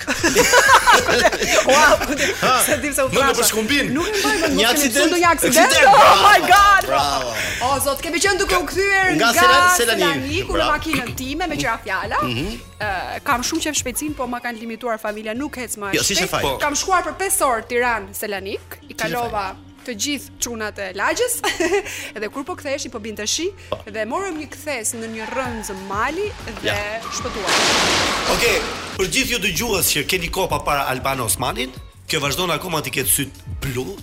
Speaker 12: Ua, ku di- [LAUGHS] se dim se u
Speaker 5: Po,
Speaker 6: Nuk më
Speaker 12: trasha.
Speaker 6: përshkumbin.
Speaker 12: Nuk e mbaj mend,
Speaker 6: Një
Speaker 12: mos kemi
Speaker 6: aksident?
Speaker 12: qenë ndonjë aksident.
Speaker 6: Aksident,
Speaker 12: Oh
Speaker 6: bravo,
Speaker 12: my god.
Speaker 5: bravo.
Speaker 12: O zot, kemi qenë duke u kthyer
Speaker 5: Nga
Speaker 12: nga
Speaker 5: Sela- Selani,
Speaker 12: Selaniku në
Speaker 5: bravo.
Speaker 12: makinën time me qira fjala.
Speaker 5: Mhm.
Speaker 12: Ë, Kam shumë qef shpejtësinë, po ma kanë limituar familja, nuk ec më. aq
Speaker 5: Jo, si
Speaker 12: shpejt.
Speaker 5: ishte faj. Po.
Speaker 12: Kam shkuar për 5 orë Tiranë Selanik, i kalova të gjithë çunat e lagjes. [LAUGHS] Edhe kur po ktheheshi po binte shi dhe morëm një kthes në një rrënjë mali dhe shpëtuam.
Speaker 6: Okej, për gjithë ju dëgjues që keni kopa para Alban Osmanin, kjo vazhdon akoma të ketë syt blu.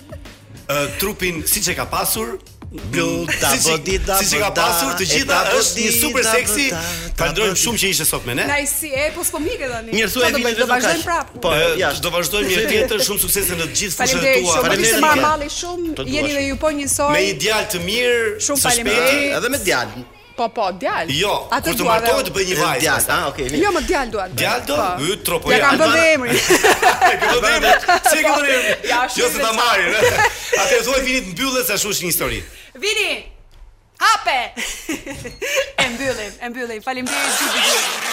Speaker 6: [LAUGHS] Ë trupin siç e ka pasur mm,
Speaker 5: Blu, da,
Speaker 6: siç i-
Speaker 5: bodi, da,
Speaker 6: siç i ka
Speaker 5: boda,
Speaker 6: pasur të
Speaker 5: e
Speaker 6: gjitha
Speaker 5: da,
Speaker 6: është një
Speaker 5: bodi,
Speaker 6: super
Speaker 5: da,
Speaker 6: seksi.
Speaker 5: boda,
Speaker 6: Falenderojmë shumë që ishe sot me ne.
Speaker 12: Nice, si e po spomike tani.
Speaker 6: Mirë thuaj
Speaker 12: Çfarë do
Speaker 6: vini vetëm
Speaker 12: bëjmë? Do vazhdojmë
Speaker 6: kaq.
Speaker 12: prapë.
Speaker 6: Po,
Speaker 5: Ë,
Speaker 6: ja,
Speaker 5: jashtë.
Speaker 6: do vazhdojmë një tjetër, shumë suksese në të gjithë fushat
Speaker 12: Faleminderit
Speaker 6: tua.
Speaker 12: shumë. Faleminderit.
Speaker 6: Faleminderit.
Speaker 12: Malli shumë,
Speaker 6: Të
Speaker 12: jeni
Speaker 6: duash.
Speaker 12: dhe ju po njësoj.
Speaker 6: Me një djalë të mirë,
Speaker 12: Shumë
Speaker 6: së shpejti,
Speaker 12: faleminderit.
Speaker 6: Edhe me djalë.
Speaker 12: Po, po, djalë.
Speaker 6: Jo,
Speaker 12: Atë
Speaker 6: kur të
Speaker 12: dua dhe
Speaker 6: martohet
Speaker 12: unë.
Speaker 6: të bëj një vajzë. [LAUGHS]
Speaker 5: Djalë,
Speaker 6: pastaj.
Speaker 5: ah, okay,
Speaker 12: Jo, më djalë duan. Po.
Speaker 6: Djalë do? Hy tropo
Speaker 12: Ja kam bërë
Speaker 6: Albana.
Speaker 12: emrin.
Speaker 6: [LAUGHS] Ke bërë emrin? Si e
Speaker 12: [LAUGHS]
Speaker 6: ke bërë emrin?
Speaker 12: Ja,
Speaker 6: Jo
Speaker 12: shumë
Speaker 6: se ta
Speaker 12: interesant. [LAUGHS]
Speaker 6: marrin. ë. Atë thuaj vinit mbyllet sa shush një histori.
Speaker 12: [LAUGHS] Vini. Hape. e mbyllim, e mbyllim. Faleminderit gjithë.